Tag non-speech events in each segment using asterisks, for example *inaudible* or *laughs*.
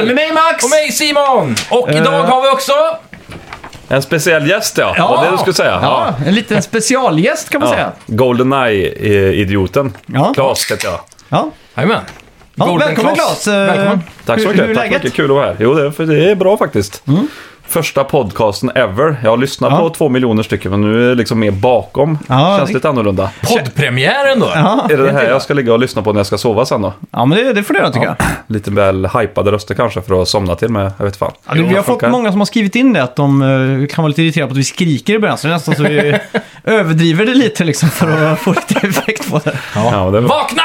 Och mig Simon! Och idag Eh. har vi också... En speciell gäst ja, Ja. var det du skulle säga. Ja, en liten specialgäst kan man Ja. säga. Goldeneye-idioten. Ja. Klas heter jag. Ja. Jajamän. Ja, Golden välkommen Class. Claes! Eh, Välkommen. Tack så hur- mycket. Hur är Tack så läget? Mm. mycket. Kul att vara här. Jo, det, för det är bra faktiskt. Första podcasten ever. Jag har lyssnat Ja. på två miljoner stycken, men nu är det liksom mer bakom. Ja, Känns det- lite annorlunda. Poddpremiären då. Ja, Är det det här jag ska ligga och lyssna på när jag ska sova sen då? ja men det, det får du göra tycker jag. Lite väl hypade röster kanske för att somna till med, jag vet fan. Ja, du, vi har det fått funkar. många som har skrivit in det, att de eh, kan vara lite irriterade på att vi skriker i början, så det är nästan så *laughs* vi överdriver det lite liksom för att få lite effekt på det. Ja, det är... Vakna!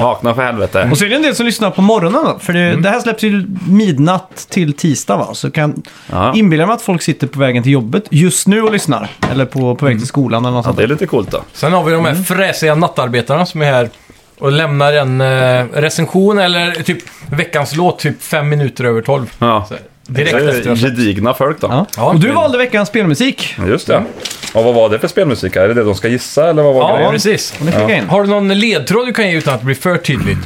Vakna för helvete. Och så är det en del som lyssnar på morgonen, då, för det, Mm. det här släpps ju midnatt till tisdag va? Så kan Ja. inbilla mig att folk sitter på vägen till jobbet just nu och lyssnar, eller på, på väg till skolan eller något Mm. Ja, sånt. det är lite coolt då. Sen har vi de här Mm. fräsiga nattarbetarna som är här och lämnar en eh, recension eller typ veckans låt typ fem minuter över tolv. Ja. Så, direkt Det är efter. Gedigna folk då. Ja. Ja. Och du valde veckans spelmusik. Just det. Och vad var det för spelmusik? Är det det de ska gissa eller vad var Ja, grejen? precis. Och ni klickar in. Har du någon ledtråd du kan ge utan att det blir för tydligt?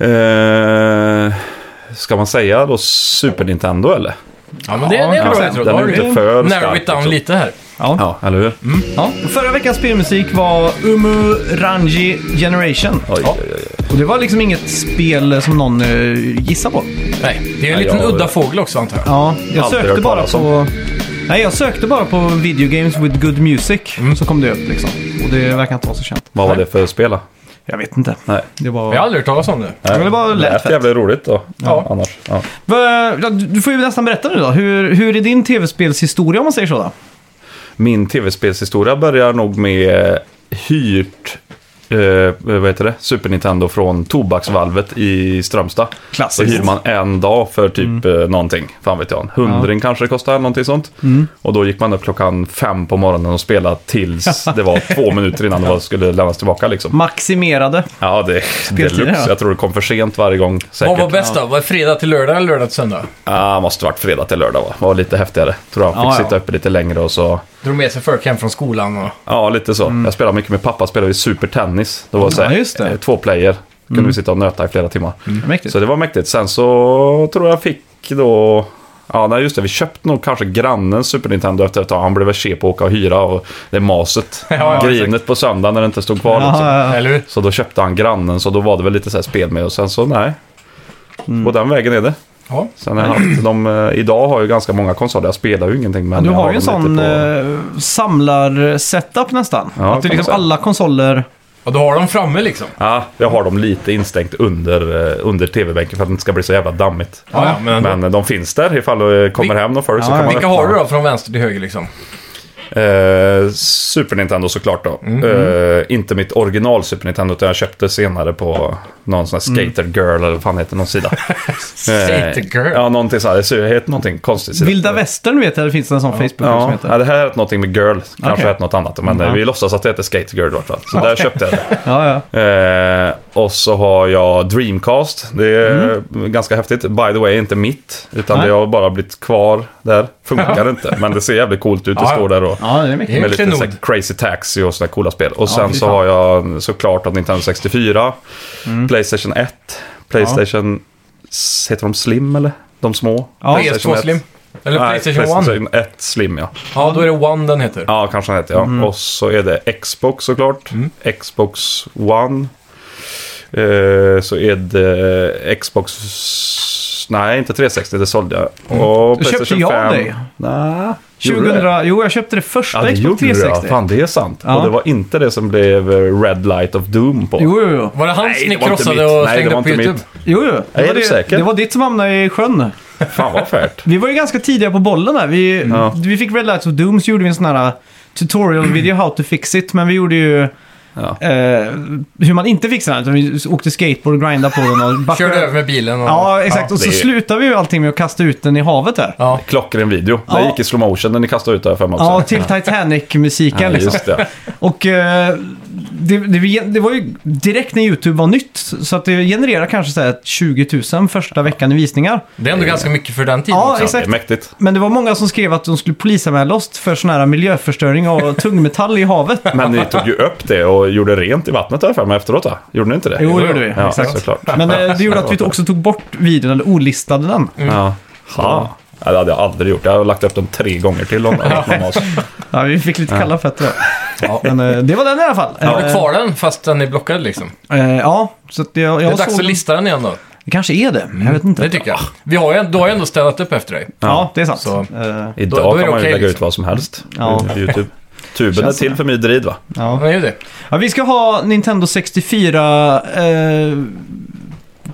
Eh, ska man säga då Super Nintendo eller? Ja, men det, det är en Ja, bra den- ledtråd. den Har är du inte det? för Narrow stark, it down liksom. lite här. Ja, eller hur? Ja. och Förra veckans spelmusik var Umu Ranji Generation. Oj, Ja. oj, oj, oj. Och det var liksom inget spel som någon eh, gissade på. Nej, det är en Nej, liten jag- udda fågel också antar jag. Ja, jag Aldrig sökte hört bara talas på... Nej, jag sökte bara på video games with good music. Mm. Så kom det upp liksom. Och det verkar inte vara så känt. Vad var det för spel då? Jag vet inte. Nej. Det Jag har var... aldrig hört talas om det. Nej, men det bara lät fett. jävligt roligt då. Ja. Annars. Ja. Va- ja, Du du får ju nästan berätta nu då. Hur, hur är din tv-spelshistoria om man säger så då? Min tv-spelshistoria börjar nog med hyrt eh, vad heter det? Super Nintendo från Tobaksvalvet i Strömstad. Så Klassiskt. Mm. hyr man en dag för typ eh, någonting, fan vet jag. en Hundring kanske det kostade, någonting sånt. Mm. Och då gick man upp klockan fem på morgonen och spelade *laughs* tills det var två minuter innan det var- skulle lämnas tillbaka liksom. Maximerade. Ja, det Speltider, deluxe. Mm. ja. Jag tror det kom för sent varje gång. Säkert. Vad var bäst då? Var det fredag till lördag eller lördag till söndag? Ja, måste varit fredag till lördag va? Var lite häftigare. Tror han fick Ja, ja. sitta uppe lite längre och så. Drog med sig folk hem från skolan och... Ja, lite så. Jag spelade mycket med pappa, spelade vi supertennis. Då var det så här, Mm. Ja, just det. Mm. eh, två player. Kunde vi sitta och nöta i flera timmar. Mäktigt. Så det var mäktigt. Sen så tror jag fick då... Ja, nej just det. Vi köpte nog kanske grannens Super Nintendo efter ett tag. Han blev väl se på att åka och hyra och *laughs* det maset. ja, exakt. Grinet på söndagen när det inte stod kvar. liksom. Ja, ja, ja. Eller hur? Så då köpte han grannen, så då var det väl lite så här spel med och sen så nej. Mm. På den vägen är det. Ja. Sen har *clears throat* jag haft de, eh, idag har jag ju ganska många konsoler, jag spelar ju ingenting. Men Du jag har ju en dem sån lite på- eh, samlar-setup nästan. Ja, att det är kan man liksom säga. alla konsoler... Och då har de framme liksom. Ja, jag har dem lite instängt under, eh, under tv-bänken för att det inte ska bli så jävla dammigt. Ja, ja, men ändå. Men eh, de finns där ifall det kommer Vil- hem någon folk så Ja, kan man Vilka öppna har du dem. då från vänster till höger liksom? Eh, Super Nintendo såklart då. Mm. Eh, inte mitt original Super Nintendo utan jag köpte senare på någon sån här Skater Girl eller vad fan heter någon sida. Mm. *laughs* Eh, Skater Girl. Ja, någonting sådär. Det heter någonting konstigt. sida. Vilda västern vet jag, det finns en sån Facebook Ja, som heter. ja, det här är någonting med girl. Kanske Okej. okay. något annat. Men eh, vi låtsas att det heter Skate Girl i vart fall. Så där köpte jag det. Ja, ja. Eh, och så har jag Dreamcast. Det är Mhm. ganska häftigt. By the way, inte mitt. Utan Nej. det har bara blivit kvar där. Funkar inte. Men det ser jävligt coolt ut. Det Ja. står där och... Ja, det är mäktigt. Det är Med en lite klenod. så här crazy taxi och sådana coola spel. Och fy sen så fan. har jag såklart att Nintendo 64, Mm. Playstation 1, Playstation... s- Heter de Slim eller? De små? Ja, Playstation PS2 ett. Slim? Eller Nej, Playstation 1? Playstation 1 Slim ja. Ja, då är det One den heter. Ja, kanske han heter. Ja. Mm. Och så är det Xbox såklart. Xbox One. Eh, så är det Xbox... Nej, inte 360. Det sålde jag. Och Då Mm. köpte Playstation jag 5. dig. Nej, gjorde du 2000, det? jo, jag köpte det Ja, första det Xbox gjorde jag. 360. Fan, det är sant. Ja. Och det var inte det som blev eh, Red Light of Doom på. Jo, jo, jo. Var det han Nej, som det ni var inte krossade mitt. och Nej, det slängde var upp på inte YouTube? mitt. jo, jo. Det, är var du det, säker? det var ditt som hamnade i sjön. Fan *laughs* vad färt. Vi var ju ganska tidiga på bollen där. Vi, Ja. vi fick Red Lights of Doom, så gjorde vi en sån här *clears throat* tutorial-video how to fix it. Men vi gjorde ju Ja. eh, hur man inte fixar den. Utan vi åkte skateboard och grindade på den och backade Körde över med bilen och... Ja, exakt. och så det är- slutade vi ju allting med att kasta ut den i havet där. Ja, Ja. Klockren video. Ja. Det gick i slow motion när ni kastade ut det här för mig *laughs* också. till Titanic-musiken liksom. Just det. Och eh, det, det, det var ju direkt när YouTube var nytt, så att det genererar kanske så här 20 000 första veckan i visningar. Det är ändå ganska mycket för den tiden Ja, också. exakt. Det är mäktigt. Men det var många som skrev att de skulle polisanmäla oss för sån här miljöförstöring av tungmetall i havet. Men ni tog ju upp det och gjorde rent i vattnet där för mig efteråt va? Gjorde ni inte det? Jo, det gjorde vi. Ja, exakt. såklart. Men eh, det gjorde att vi också tog bort videon, eller olistade den. Ja. Ja. Ja, det hade jag aldrig gjort. Jag har lagt upp dem tre gånger till om någon av oss. Ja, vi fick lite kalla fötter. Ja. Men eh, det var den i alla fall. Har du Eh, kvar den fast den är blockad liksom? eh, ja, så att jag, Det är jag dags såg... att lista den igen då. Det kanske är det, jag Mm. vet inte. Det tycker jag. Vi har ju, du har ju ändå städat upp efter dig. Ja, det är sant. Så. Eh, Idag Då- då är det kan man ju okej, lägga ut liksom. vad som helst Ja. på YouTube. Tuben är Känns till för mydrid va? Ja, ja. det är ju det. Ja, vi ska ha Nintendo 64 eh,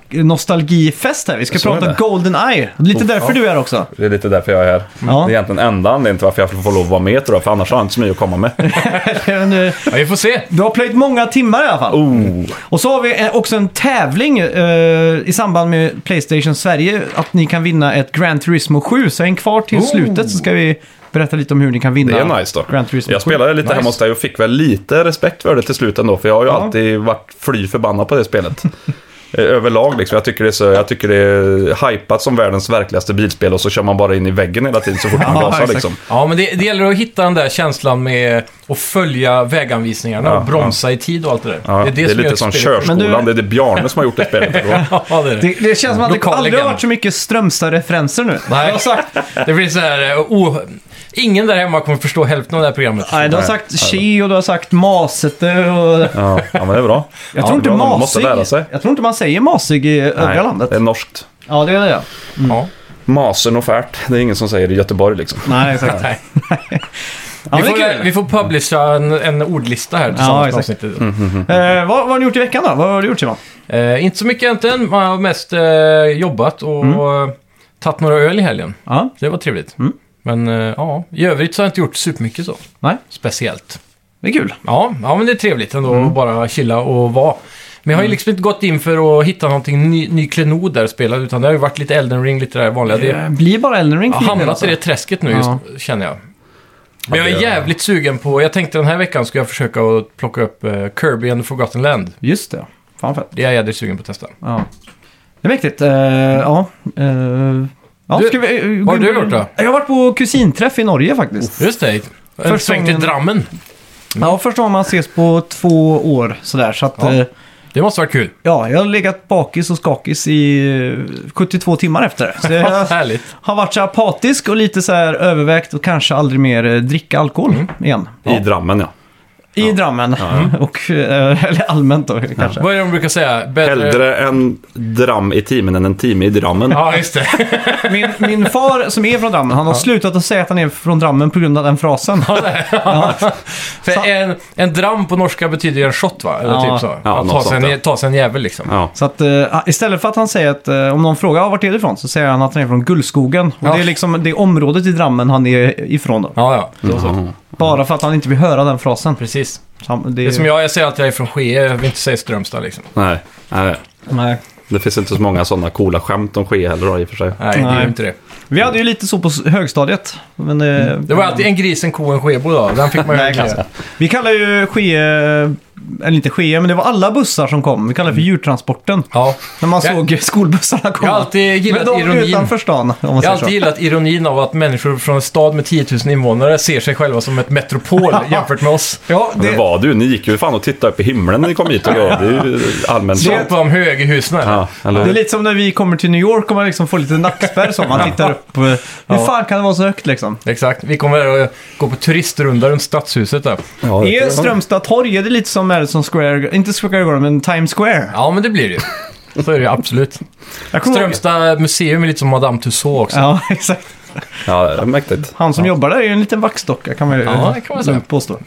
nostalgifest här. Vi ska Så är prata det. GoldenEye. Lite Oh, därför ja. du är här också. Det är lite därför jag är här. Det är Ja. egentligen enda anledningen till varför jag får lov att vara med tror jag, för annars har jag inte så mycket att komma med. Men, eh, Ja, vi får se. Du har plöjt många timmar i alla fall. Oh. Och så har vi eh, också en tävling eh, i samband med Playstation Sverige. Att ni kan vinna ett Gran Turismo 7. Så en kvar till Oh. slutet så ska vi berätta lite om hur ni kan vinna. Det är nice då. Gran Turismo Jag 7. spelade lite Nice. hemma hos dig och fick väl lite respekt för det till slut ändå, för jag har ju alltid varit fly förbannad på det spelet. Eh, Överlag liksom. Jag tycker, det är så, jag tycker det är hypat som världens verkligaste bilspel och så kör man bara in i väggen hela tiden så fort man Ja, gasar exakt. liksom. Ja, men det, det gäller att hitta den där känslan med att följa väganvisningarna Ja, och bromsa i tid och allt det där. Ja, det är, gör lite ett som spel. körskolan, Men det är det Bjarne som har gjort det spelet. *laughs* ändå. *laughs* Ja, det är det. Det, det känns som att det Lokal aldrig har legend. varit så mycket Strömstad-referenser nu. Nej. Jag har sagt, Det blir så här... eh, Oh, ingen där hemma kommer förstå hälften av det här programmet. nej, du har sagt Chi och du har sagt Masete och... Ja, ja, men det är bra. Jag ja, tror inte bra, masig... Man måste lära sig. Jag tror inte man säger masig i övriga landet. det är norskt. Ja, det är det ja. Ja. Masen och färt, det är ingen som säger det i Göteborg liksom. *laughs* Nej, exakt. Nej. Ja, Vi, det är får, kul. vi får publisha en, en ordlista här tillsammans med exakt. avsnittet. Mm. Eh, vad, vad har ni gjort i veckan då? Vad har du gjort Simon? Eh, inte så mycket egentligen. Man har mest eh, jobbat och Mm. eh, tagit några öl i helgen. Ja. Så det var trevligt. Men eh, ja, i övrigt så har jag inte gjort supermycket så. Nej, Speciellt. det är kul. Ja, ja men det är trevligt ändå att bara chilla och vara. Men jag har ju liksom inte gått in för att hitta någonting ny, ny klenod där att spela, utan det har ju varit lite Elden Ring, lite det där vanliga. Det, Eh, Blir bara Elden Ring jag för har din del, hamnat alltså. i det träsket nu, Ja. just, känner jag. Men jag Ja, är det gör jag. jävligt sugen på... Jag tänkte den här veckan ska jag försöka att plocka upp eh, Kirby and the Forgotten Land. Just det. Fan fett. Det är jag jädrigt sugen på att testa. Ja. Det är mäktigt. Eh, ja. Eh, ja, Du- ska vi, eh, vad gå har in du på- gjort då? Jag har varit på kusinträff i Norge faktiskt. Just det. En Första sväng till gången- Drammen. Ja, första gången man ses på två år sådär. Så att, Ja. eh, Det måste vara kul. ja, jag har legat bakis och skakis i eh, 72 timmar efter. det. Så *laughs* jag Härligt. har varit så apatisk och lite så här övervägt och kanske aldrig mer eh, dricka alkohol igen. I Drammen ja. I Drammen. *laughs* Och, eh, eller allmänt då *laughs* kanske. Vad är det de brukar säga? Bättre... Hellre en dram i timen än en timme i Drammen. Ja, just det. Min, min far som är från Drammen, han har slutat att säga att han är från Drammen på grund av den frasen. För en, en dram på norska betyder ju en shot, va? Eller Ja. typ så. Ja, att ta något sig, sånt, en, ja. ta sig en jävel, liksom. Ja. Så att eh, istället för att han säger att eh, om någon frågar "Ja, vart är du ifrån så säger han att han är från Gullskogen. Och Ja. det är liksom det området i Drammen han är ifrån då. Ja, ja. Det var så. Mm. Bara för att han inte vill höra den frasen. Precis. Så han- det Det är är- som jag, jag säger att jag är från Skee, jag vill inte säga Strömstad liksom. Nej. Nej. Nej. Det finns inte så många sådana coola skämt om Ske heller då, i och för sig. Nej, det är Nej. ju inte det. Vi hade ju lite så på s- högstadiet. Men, eh, Mm. Det var alltid en gris, en ko, en skebo då. Den fick man ju Nej, verkligen. Vi kallar ju Skee, eh, eller inte Skee, men det var alla bussar som kom. Vi kallar det för djurtransporten. Mm. Ja. När man Jag- såg *laughs* skolbussarna komma. Jag har alltid men gillat de ironin. utanför stan, om man Jag säger har alltid så. gillat ironin av att människor från en stad med 10 000 invånare ser sig själva som ett *laughs* metropol jämfört med oss. Ja, Men det det, var du. Ni gick ju fan och tittade upp i himlen när ni kom hit och grejer. Det är ju allmänt Sånt var om högerhusen här. Ja, eller det är lite som när vi kommer till New York och man liksom får lite nackspärr så. Man tittar upp. eh, Hur fan kan det vara så högt liksom? Exakt. Vi kommer att gå på turistrunda runt stadshuset där. Ja, det- Är Strömstad torg, är det lite som Madison Square, inte Square Garden, men Times Square? Ja, men det blir det ju. Så är det ju absolut. Jag kommer ihåg- Strömstad museum är lite som Madame Tussauds också. Ja, *laughs* exakt. Ja, det är mäktigt. Han som jobbar där är ju en liten vaxdocka kan man ju Ja, det kan man säga. Mm. påstå.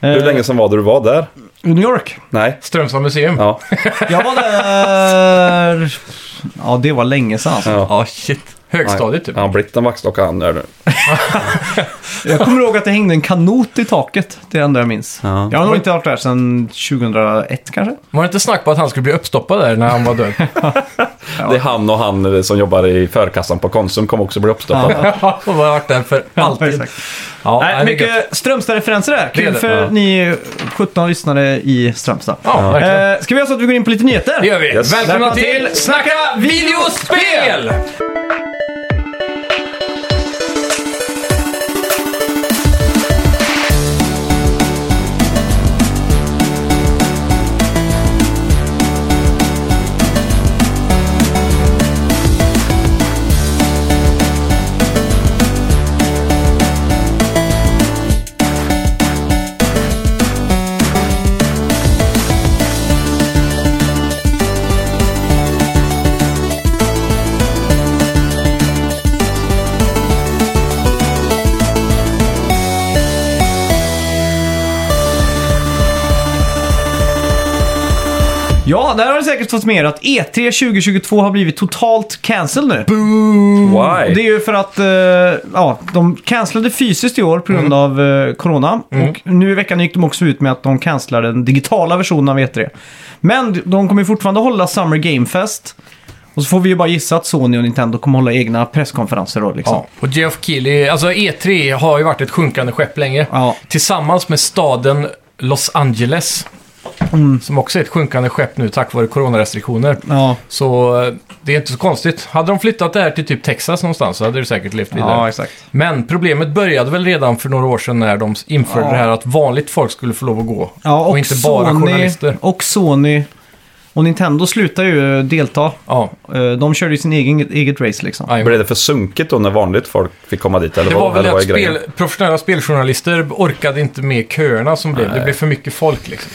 Hur Eh. länge sedan var det du var där? I New York. Nej. Strömstad museum. Ja, Jag var där... Ja, det var länge sedan alltså. ja. Ja, shit. Högstadiet typ. Han blivit en vaxdocka han är nu. Jag kommer ihåg att det hängde en kanot i taket. Det är det enda jag minns. Ja. Jag har nog inte varit där sedan 2001 kanske. Var det inte snack på att han skulle bli uppstoppad där när han var död? Det är han och han eh, som jobbar i förkassan på Konsum kommer också bli uppstoppade. Ja, och har varit där för alltid. exakt. Ja, det är Nej, gött. mycket Strömstad-referenser där. Det är Kul det. för Ja. ni 17 lyssnare i Strömstad. Ja, verkligen. Eh, ska vi göra så att vi går in på lite nyheter? Det gör vi. Yes. Välkomna Välkomna till till Snacka videospel! Ja, där har ni säkert fått med er att E3 2022 har blivit totalt cancelled nu. Mm. Och Det är Why? ju för att eh, ja, de cancellade fysiskt i år på grund av eh, corona. Och nu i veckan gick de också ut med att de cancellade den digitala versionen av E3. Men de kommer ju fortfarande hålla Summer Game Fest. Och så får vi ju bara gissa att Sony och Nintendo kommer hålla egna presskonferenser då liksom. Ja, och Geoff Keighley, alltså E3 har ju varit ett sjunkande skepp länge. Ja. Tillsammans med staden Los Angeles, som också är ett sjunkande skepp nu tack vare coronarestriktioner. Ja, Så eh, det är inte så konstigt. Hade de flyttat det här till typ Texas någonstans så hade det säkert levt vidare. ja exakt. Men problemet började väl redan för några år sedan när de införde Ja. det här att vanligt folk skulle få lov att gå. Ja, och, och inte bara Sony, journalister. Och Sony och Nintendo slutar ju eh, delta. Ja, Eh, De körde ju sin egen, eget race liksom. jajamän. Blev det för sunkigt då när vanligt folk fick komma dit? Eller Det vad, var väl eller att vad är grejen? spel, professionella speljournalister orkade inte med köerna som blev. Det blev för mycket folk liksom.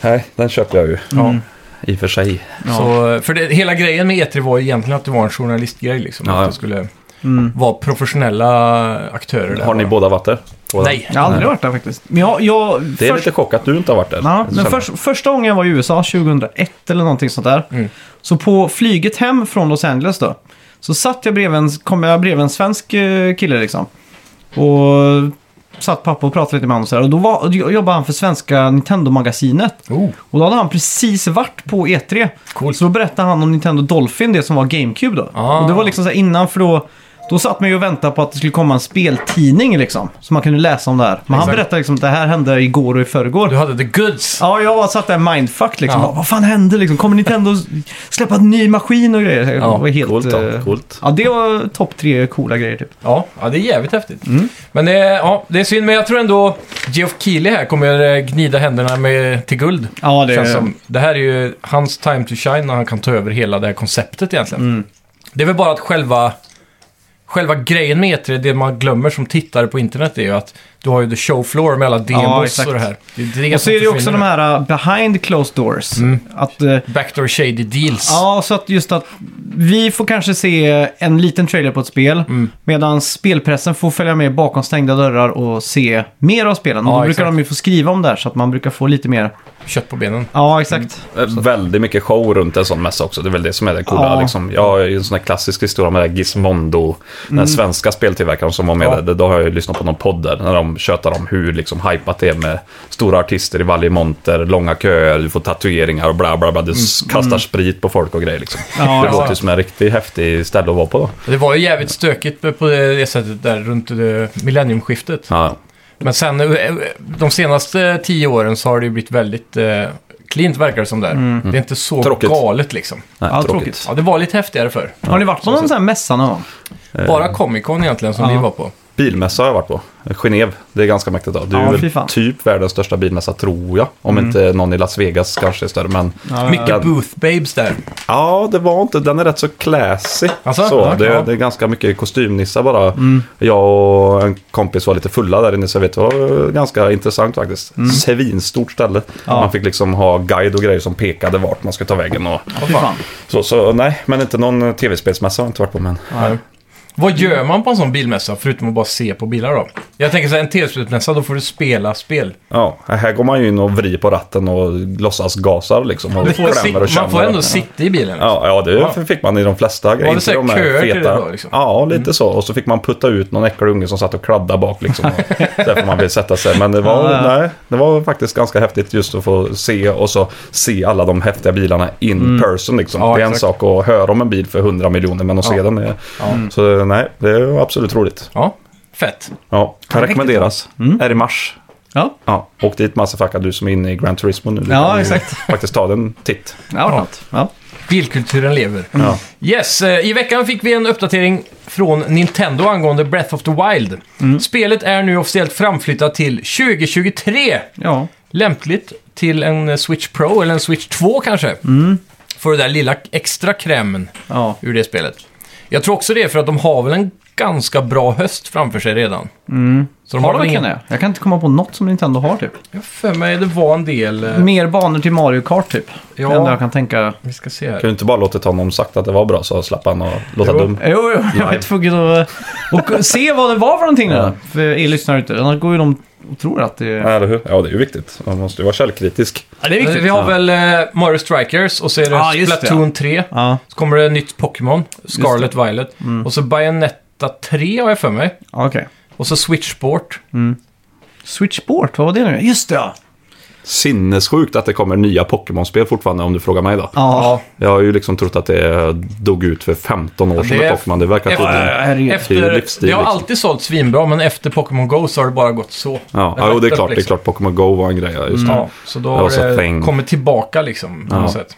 Nej, den köper jag ju. Ja. Mm. I och för sig. Ja. Så, eh, för det, hela grejen med E3 var ju egentligen att det var en journalistgrej liksom. Ja, Att ja. det skulle Mm. vara professionella aktörer där. Har ni båda varit där? Båda? Nej. Jag har aldrig varit där faktiskt. Men jag, jag, Det är först- lite chock att du inte har Typ. varit där. Ja, Alltså, men Sen- förs- första gången jag var i USA, 2001 eller någonting sånt där. Mm. Så på flyget hem från Los Angeles då, så satt jag bredvid en, kom jag bredvid en svensk eh, kille liksom. Och satt pappa och pratade lite med honom och sådär. Och då var, och då jobbade han för svenska Nintendo-magasinet. Oh, Och då hade han precis varit på E3. Coolt. Så då berättade han om Nintendo Dolphin, det som var GameCube då. Ah. Och det var liksom så här innan för då... Då satt man ju och väntade på att det skulle komma en speltidning liksom. Så man kunde läsa om det här. Men han Exakt. berättade liksom att det här hände igår och i förrgår. du hade the goods. Ja, jag var satt där mindfucked liksom. Ja. Bara, Vad fan hände liksom? Kommer Nintendo släppa en ny maskin och grejer? Ja, det var helt... Coolt, eh, ja. Coolt. Ja, det var topp tre coola grejer typ. Ja, ja, det är jävligt häftigt. Mm. Men det, är- ja, det är synd, men jag tror ändå Geoff Keighley här kommer eh, gnida händerna med, till guld. Ja, det... Känns som, det här är ju hans time to shine när han kan ta över hela det här konceptet egentligen. Mm. Det är väl bara att själva, själva grejen med E3, det man glömmer som tittare på internet, är ju att du har ju the show floor med alla demos exakt. och det här. Det är det Och så som är det ju också de försvinner. här uh, behind closed doors. Att... eh, Backdoor shady deals. Ja, så att just att vi får kanske se en liten trailer på ett spel. Medan spelpressen får följa med bakom stängda dörrar och se mer av spelen. Och Ja, då brukar exakt. de ju få skriva om det här så att man brukar få lite mer. Kött på benen. Ja, exakt. Eh, Väldigt mycket show runt en sån mässa också. Det är väl det som är det coola. Ja. Liksom. Jag har ju en sån här klassisk historia med det här Gizmondo. Den Mm. svenska speltillverkaren som var med Ja. där. Då har jag ju lyssnat på någon podd där. När de tjötar om hur liksom, hypat det är med stora artister i varje monter. Långa köer, du får tatueringar och bla bla bla. Du s- kastar sprit på folk och grejer liksom. Mm. Ja, det låter ja. ju som en riktigt häftig ställe att vara på. Det var ju jävligt stökigt på det sättet där runt eh, millenniumskiftet. Ja. Men sen eh, de senaste tio åren så har det ju blivit väldigt eh, cleant verkar det som där. Mm. Det är inte så Tråkigt. galet liksom. Nej, Ja, tråkigt. tråkigt. Ja, det var lite häftigare förr. Har ni varit på någon sån här mässa någon gång? Eh. Bara Comic Con egentligen som Ja. vi var på. Bilmässa har jag varit på. Genève, det är ganska mäktigt. Då. Det är Ja, fy ju fan. Mm. väl typ världens största bilmässa, tror jag. Om inte någon i Las Vegas kanske är större. Men Mycket ja. Booth Babes där. ja, det var inte. Den är rätt så classy. Alltså? så, Ja, det, ja. Mm. det är ganska mycket kostymnissar bara. Jag och en kompis var lite fulla där inne, så jag vet, det var ganska intressant faktiskt. Mm. Svinstort ställe. Ja. Man fick liksom ha guide och grejer som pekade vart man skulle ta vägen. Och, Fy fan. så, så nej, men inte någon tv-spelsmässa har jag inte varit på. Men... Nej. Vad gör man på en sån bilmässa, förutom att bara se på bilar då? Jag tänker så här, en tv-spelsmässa, då får du spela spel. Ja, här går man ju in och vrider på ratten och låtsas gasar liksom. Och Du får klämmer och sit- man får känner. ändå sitta i bilen. liksom. Ja, ja, det Ja. fick man i de flesta grejer. det inte så här de här köer till det då, liksom? Ja, lite så. Och så fick man putta ut någon äcklig unge som satt och kladdade bak liksom. Och *laughs* därför man vill sätta sig. Men det Ja, var, ja. Nej, det var faktiskt ganska häftigt just att få se och så se alla de häftiga bilarna in person liksom. Mm. Ja, det är en exakt. sak att höra om en bil för 100 miljoner, men att se den är... Mm. Så nej, det är absolut roligt. Ja, fett. Ja, kan rekommenderas. Mm. Är i mars. Ja, Ja, åk dit Massafaka, du som är inne i Gran Turismo nu. Du Ja, kan ju exakt. Faktiskt ta den titt. det var något. Ja. Bilkulturen lever. Yes, eh, i veckan fick vi en uppdatering från Nintendo angående Breath of the Wild. Mm. Spelet är nu officiellt framflyttat till 2023. ja. Lämpligt till en eh, Switch Pro eller en Switch 2 kanske. Mm. För den där lilla extra krämen ja. ur det spelet. Jag tror också det är för att de har väl en ganska bra höst framför sig redan. Så de Mm. Har de väl verkligen ingen- det? Jag kan inte komma på något som Nintendo har typ. Jag har för mig det var en del... eh, Mer banor till Mario Kart typ. Ja. Det enda jag kan tänka. Vi ska se här. Kan du inte bara låtit honom sagt att det var bra så slapp han och låta Jo. dum. Jo, jo, jag var Live. tvungen att och se vad det var för någonting Ja. nu. För er lyssnare ute. Annars går ju de och tror att det är... Ja, eller hur? Ja, det är ju viktigt. Man måste ju vara källkritisk. Ja, det är Vi har väl eh, Mario Strikers och så är det Ah, just det, Splatoon 3. Ja, Så kommer det ett nytt Pokémon, Scarlet Violet. Mm. Och så Bayonetta 3 har jag för mig. ja, okej. Och så Switch Sport. Switch Sport, vad var det nu? Just det ja! Sinnessjukt att det kommer nya Pokémon-spel fortfarande om du frågar mig då. Ja, Jag har ju liksom trott att det dog ut för 15 år sedan det är- med Pokémon. Det verkar Efter- tydligen... ja, herregud. Det är ju Efter, livsstil, det har liksom. Mm. alltid sålt svinbra, men efter Pokémon Go så har det bara gått så. Ja, har ja jo, det är gått klart. upp, Det är liksom. Mm. klart Pokémon Go var en grej, ja, just det. Ja, så då Det var så har det thing. kommit tillbaka liksom. På Ja. något sätt.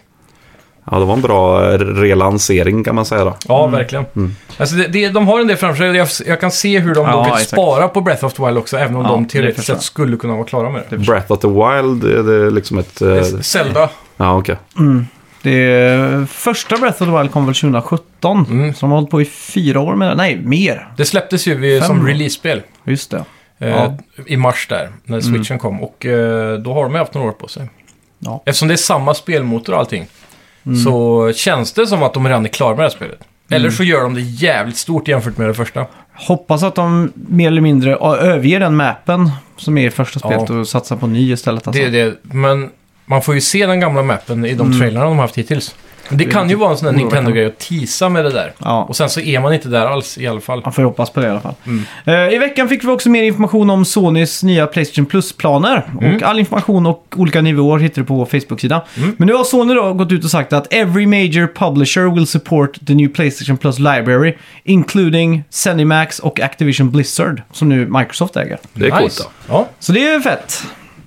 Ja, det var en bra eh, relansering kan man säga då. Ja, verkligen. Mm. Alltså det, det, de har en del framför sig. Jag, jag kan se hur de Ja, då kan exakt. spara på Breath of the Wild också, även om Ja, de det teoretiskt förstår jag. sett skulle kunna vara klara med det. Breath of the Wild, är det liksom ett... eh, Zelda. Ja, okej. Mm. Det är, första Breath of the Wild kom väl 2017. Mm. Så de har hållit på i fyra år med det. Nej, mer. Det släpptes ju vid, Fem som år. release-spel. Just det. eh, Ja. I mars där, när switchen kom. Och eh, då har de ju haft några år på sig. Ja. Eftersom det är samma spelmotor och allting. Så känns det som att de redan är klara med det här spelet. Eller så gör de det jävligt stort jämfört med det första. Hoppas att de mer eller mindre ö- överger den mappen som är i första spelet och satsar på ny istället. Alltså. Det är det. Men man får ju se den gamla mappen i de trailrarna de har haft hittills. Det kan ju vara en sån där oroväckande. Nintendo-grej att teasa med det där. Ja. Och sen så är man inte där alls i alla fall. Man får ju hoppas på det i alla fall. Eh, I veckan fick vi också mer information om Sonys nya Playstation Plus-planer. Och all information och olika nivåer hittar du på vår Facebook-sida. Men nu har Sony då gått ut och sagt att “Every major publisher will support the new Playstation Plus library, including ZeniMax och Activision Blizzard”, som nu Microsoft äger. Det är coolt Nice. då. Ja, Så det är ju fett.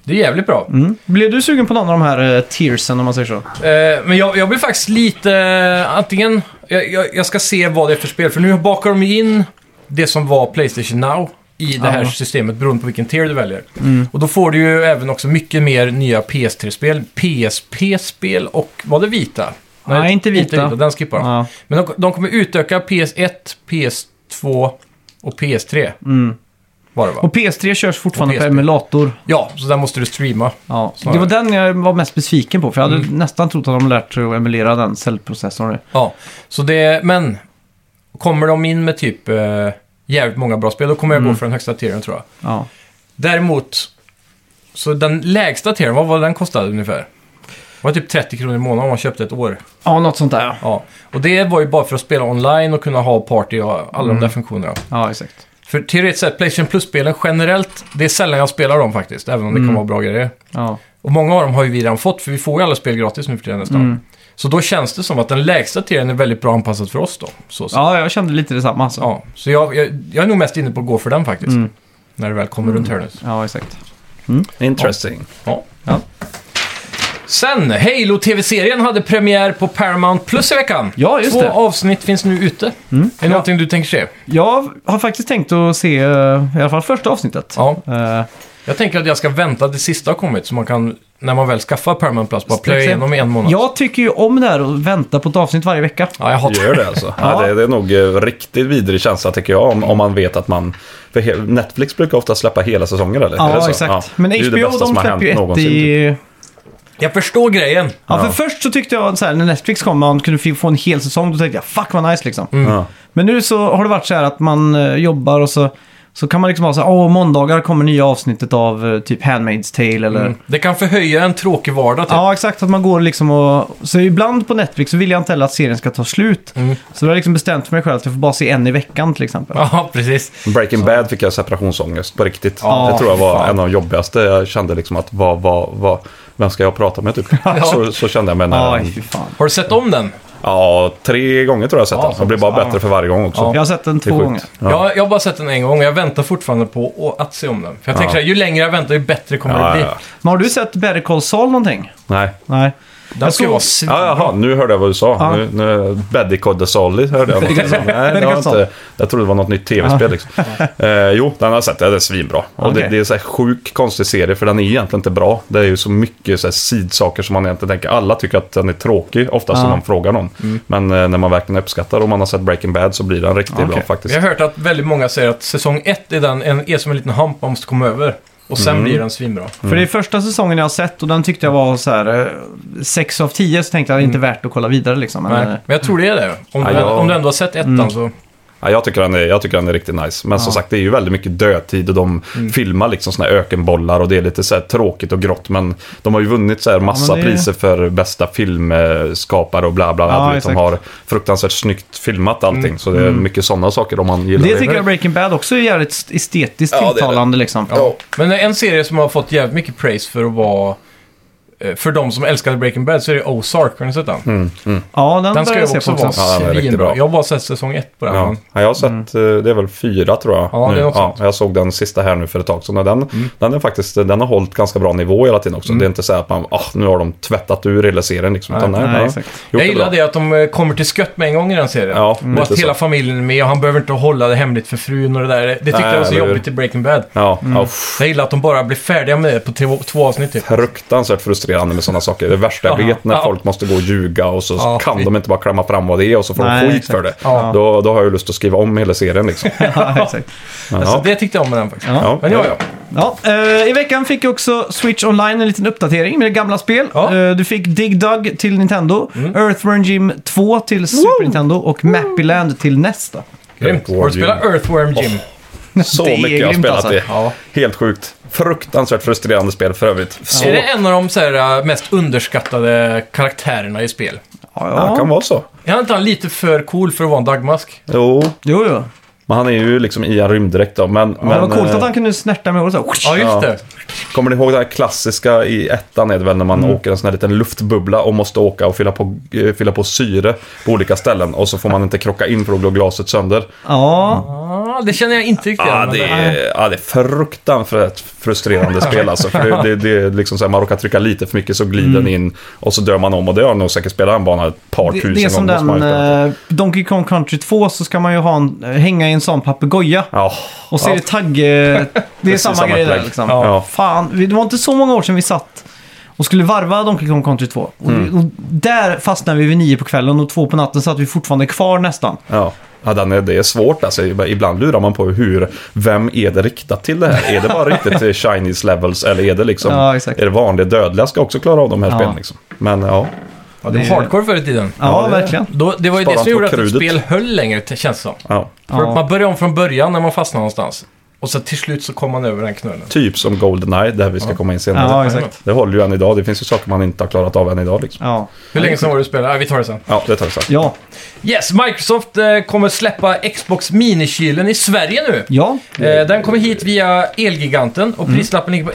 det är jävligt bra. Blev du sugen på någon av de här eh, tearsen om man säger så? Eh, men jag, jag blir faktiskt lite... eh, antingen... Jag, jag, jag ska se vad det är för spel, för nu bakar de ju in det som var Playstation Now i det här Ja. Mm. systemet beroende på vilken tier du väljer. Och då får du ju även också mycket mer nya PS3-spel, PSP-spel och var det Vita? Nej, inte Vita. den skippar de. Ja. Men de, de kommer utöka PS1, PS2 och PS3. Var det va? Mm. Och PS3 körs fortfarande Och på PSP. emulator. Ja, så där måste du streama. Ja, Mm. Snarare. det var den jag var mest besviken på, för jag hade nästan trott att de lärt sig att emulera den cellprocessorn. Ja, så det, men kommer de in med typ eh, jävligt många bra spel, då kommer jag gå för den högsta tieren tror jag. Ja. Däremot, så den lägsta tieren, vad var den kostade ungefär? Det var typ 30 kronor i månaden om man köpte ett år. ja, något sånt där ja. Ja. Och det var ju bara för att spela online och kunna ha party och alla de där funktionerna. Ja, exakt. För teoretiskt sett, Playstation Plus-spelen generellt, det är sällan jag spelar dem faktiskt, även om det kan vara bra grejer. Ja. Och många av dem har ju vi redan fått, för vi får ju alla spel gratis nu för tiden nästan. Så då känns det som att den lägsta tieren är väldigt bra anpassad för oss då. Så, så. ja, jag kände lite detsamma alltså. Ja, så jag, jag, jag är nog mest inne på att gå för den faktiskt. Mm. När det väl kommer runt hörnet. Ja, exakt. Interesting. Ja. Ja. Sen, Halo-tv-serien hade premiär på Paramount Plus i veckan. Ja, just Två det. Mm. avsnitt finns nu ute. Är det någonting du tänker se? Jag har faktiskt tänkt att se eh, i alla fall första avsnittet. Ja. Eh, Jag tänker att jag ska vänta tills sista har kommit, så man kan, när man väl skaffar Paramount Plus, bara plöja igenom i en månad. Jag tycker ju om det här att vänta på ett avsnitt varje vecka. Ja, jag hatar Gör *laughs* det alltså? ja. det, det är nog eh, riktigt vidrig känsla tycker jag om, om man vet att man... För he- Netflix brukar ofta släppa hela säsonger eller? Är det Ja, så? exakt. Ja. Men Det är ju det HBO, bästa de som har släpper ju hänt ett någonsin, typ. i... Jag förstår grejen. Ja, för Ja. först så tyckte jag så här, när Netflix kom och man kunde få en hel säsong, då tänkte jag fuck vad nice liksom. Ja. Men nu så har det varit så här att man eh, jobbar och så, så kan man liksom ha så här, åh, måndagar kommer nya avsnittet av eh, typ Handmaid's Tale eller... Mm. Det kan förhöja en tråkig vardag typ. Ja, exakt. Att man går liksom och... Så ibland på Netflix så vill jag inte heller att serien ska ta slut. Mm. Så då har jag liksom bestämt för mig själv att jag får bara se en i veckan till exempel. Ja, precis. Breaking Bad fick jag separationsångest på riktigt. Ja, det tror jag var fan. en av de jobbigaste. Jag kände liksom att vad, vad, vad, vem ska jag *laughs* prata med typ? så, så kände jag mig när Aj, fy fan. Har du sett om den? Ja, tre gånger tror jag sett Ja, den. Det blir bara fan. bättre för varje gång också. Jag har sett den Det är två sjukt. gånger. Ja. Jag, jag har bara sett den en gång och jag väntar fortfarande på å- att se om den. För jag tänker så här, ju längre jag väntar ju bättre kommer Ja, det bli. ja, ja. Men har du sett Better Call Saul någonting? Nej. Nej. Den ska ju vara svin... Ja, jaha, nu hörde jag vad du sa. Ja. Nu, nu, Baddy Codde Solly *laughs* hörde jag. något. Nej, det var inte, jag trodde det var något nytt tv-spel. Liksom. Eh, jo, den har jag sett. Ja, Den är svinbra. Och Okej. det, det är en så här sjuk konstig serie, för den är egentligen inte bra. Det är ju så mycket så här, sidsaker som man egentligen tänker. Alla tycker att den är tråkig, oftast Ja. Mm. när man frågar någon. Men eh, när man verkligen uppskattar och man har sett Breaking Bad så blir den riktigt Okej. bra Vi faktiskt. har hört att väldigt många säger att säsong ett är, den, en, är som en liten hamp man måste komma över. Och sen Mm. blir den svinbra. För det är första säsongen jag har sett och den tyckte jag var så här 6 av 10 så tänkte jag det är inte värt att kolla vidare liksom. Men, Mm. Nej. eh, Men jag tror det är det. Om, Ja, Mm. du, jag- om du ändå har sett ettan så... Ja, jag, tycker den är, jag tycker den är riktigt nice. Men som sagt, det är ju väldigt mycket dödtid och de Mm. filmar liksom såna här ökenbollar och det är lite så här tråkigt och grått. Men de har ju vunnit så här massa men det- priser för bästa filmskapare och bla bla. Ja, bla. Du vet, de exakt. Mm. har fruktansvärt snyggt filmat allting. Så det är mycket sådana saker om man gillar Det tycker jag Breaking Bad också är jävligt st- estetiskt Ja, det är det. tilltalande liksom. Ja. Men en serie som har fått jävligt mycket praise för att vara... eh, För de som älskade Breaking Bad så är det Ozark. Har ni sett den? Ja, den, Den ska börjar ju jag se också på vara också. Mm. Ja, den är riktigt svinbra. bra. Jag har bara sett säsong ett på den. Ja. men- Ja, jag har sett, Mm. eh, det är väl fyra tror jag. Ja, det är nu. något ja, sånt. jag såg den sista här nu för ett tag sedan. och Den, Mm. den, är faktiskt, den har hållit ganska bra nivå hela tiden också. Det är inte så här att man, ah, nu har de tvättat ur hela serien liksom. utan nej, den har exakt. gjort Jag bra. gillar det att de eh, kommer till skött med en gång i den serien. Ja, och lite att hela så. familjen är med och han behöver inte hålla det hemligt för frun och det där. Det tyckte Nej, jag var så eller hur? jobbigt i Breaking Bad. Ja, Mm. ja, pff. Jag gillar att de bara blir färdiga med det på två, två avsnitt typ. fruktansvärt frustrerande med sådana saker. Det värsta jag Ja. vet när Ja. folk måste gå och ljuga och så Ja, kan fy. de inte bara klämma fram vad det är och så får Nej, de skit exakt. för det. Ja. Då, då har jag ju lust att skriva om hela serien liksom. *laughs* Ja, exakt. Men Alltså, ja. det tyckte jag om med den faktiskt. Ja. Men ja, ja. Ja, eh, I veckan fick jag också Switch Online en liten uppdatering med gamla spel. Ja. Eh, du fick Dig Dug till Nintendo, Earthworm Jim 2 till Super Nintendo och Mappyland till nästa. Grymt. Har du spelat Earthworm Jim? Så Det är mycket jag har grymt, spelat alltså. det. Ja. Helt sjukt. Fruktansvärt frustrerande spel för övrigt. Så, Är det en av de så här, äh, mest underskattade karaktärerna i spel? Ja, ja. kan vara så. Är inte han lite för cool för att vara en dagmask? Jo, Jo, jo. men men han är ju liksom i en rymddräkt då. Men, men, det var coolt eh, att han kunde snärta med håret så här. Ja, just Ja. det. Kommer ni ihåg det här klassiska i ettan är det väl när man åker en sån här liten luftbubbla och måste åka och fylla på, eh, fylla på syre på olika ställen och så får man inte krocka in för då går glaset sönder. Ja, Ah, det känner jag inte riktigt Ja, igen, men det det- är, ja, det är fruktansvärt frustrerande spel alltså. För det, det, det är liksom så här, man råkar trycka lite för mycket så glider den in och så dör man om och det har jag nog säkert spelat en bana ett par Mm. det, tusen det är som gånger. den man har spelat. eh, Donkey Kong Country 2 så ska man ju ha en, eh, hänga i en sån papegoja. Ja, Och så är ja, det tagg... *laughs* eh, Det är samma, samma grej där upplägg. liksom. Ja. Fan, vi- det var inte så många år sedan vi satt och skulle varva Donkey Kong Country 2. Och, Mm. och där fastnade vi vid nio på kvällen och två på natten satt vi fortfarande kvar nästan. ja. Ja, den är, det är svårt alltså. Ibland lurar man på hur, vem är det riktat till det här? Är det bara riktigt eh, Chinese levels eller är det liksom, Ja, exakt. är det vanliga dödliga ska också klara av de här Ja. spelen liksom. Men ja, Ja, det var det- hardcore förr i tiden. Ja, det- verkligen. Då, det var ju Sparar det som på gjorde att ett krudet. spel höll längre, t- känns det som. ja. För Ja. att man började om från början när man fastnade någonstans. Och så till slut så kom man över den knölen. typ som Goldeneye, där vi ska komma in senare. Ja, exakt. Det håller ju än idag, det finns ju saker man inte har klarat av än idag liksom. Ja. Hur länge sedan var du spelade? Ah, vi tar det sen. Ja, det tar vi sen. Ja. Yes, Microsoft eh, kommer släppa Xbox Mini-kylen i Sverige nu. Ja. Mm. Eh, den kommer hit via Elgiganten och prislappen ligger på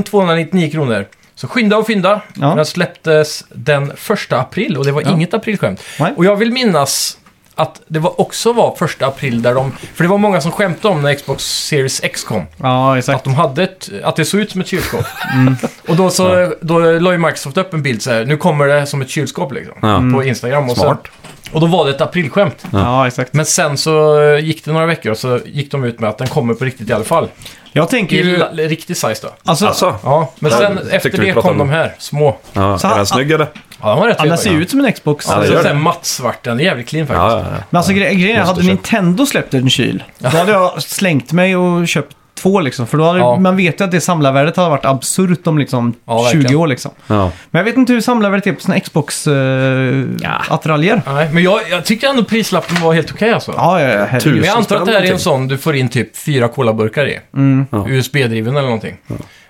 1299 kronor. Så skynda och fynda. Ja. Den släpptes den 1 april och det var Ja. inget aprilskämt. Nej. Och jag vill minnas att det var också var 1 april där de... För det var många som skämtade om när Xbox Series X kom. Ja, Att, exakt. de hade ett, att det såg ut som ett kylskåp. Mm. Och då, så, då la ju Microsoft upp en bild så här, nu kommer det som ett kylskåp liksom. Ja. Mm. Mm. På Instagram. Och, Smart. Sen, och då var det ett aprilskämt. Ja, exakt. Men sen så eh, gick det några veckor och så gick de ut med att den kommer på riktigt i alla fall. Jag I tänker ju... la- riktig size då. Alltså, Alltså, Ja, men Ja, sen jag efter tyckte vi det pratade kom de om- här små. Ja, Så är han- den snygg eller? Ja, de var rätt ja, den ser ju trevliga. ut som en Xbox. Ja, det Alltså gör så här mattsvart, den är jävligt clean faktiskt. ja, ja. Men alltså gre- grejen är, hade Monsterköp. Nintendo släppt en kyl, då hade jag slängt mig och köpt två liksom. För då hade, Ja. man vet ju att det samlarvärdet hade varit absurt om liksom Ja, 20 verkligen. år liksom. Ja. Men jag vet inte hur samlarvärdet är på eh, sina Xbox-attiraljer. Nej, men jag, jag tyckte ändå prislappen var helt okej alltså. ja, ja, ja, herregud. Men jag Tusen antar att det här är spänn en någonting. sån du får in typ fyra colaburkar i. Mm. Ja. USB-driven eller någonting.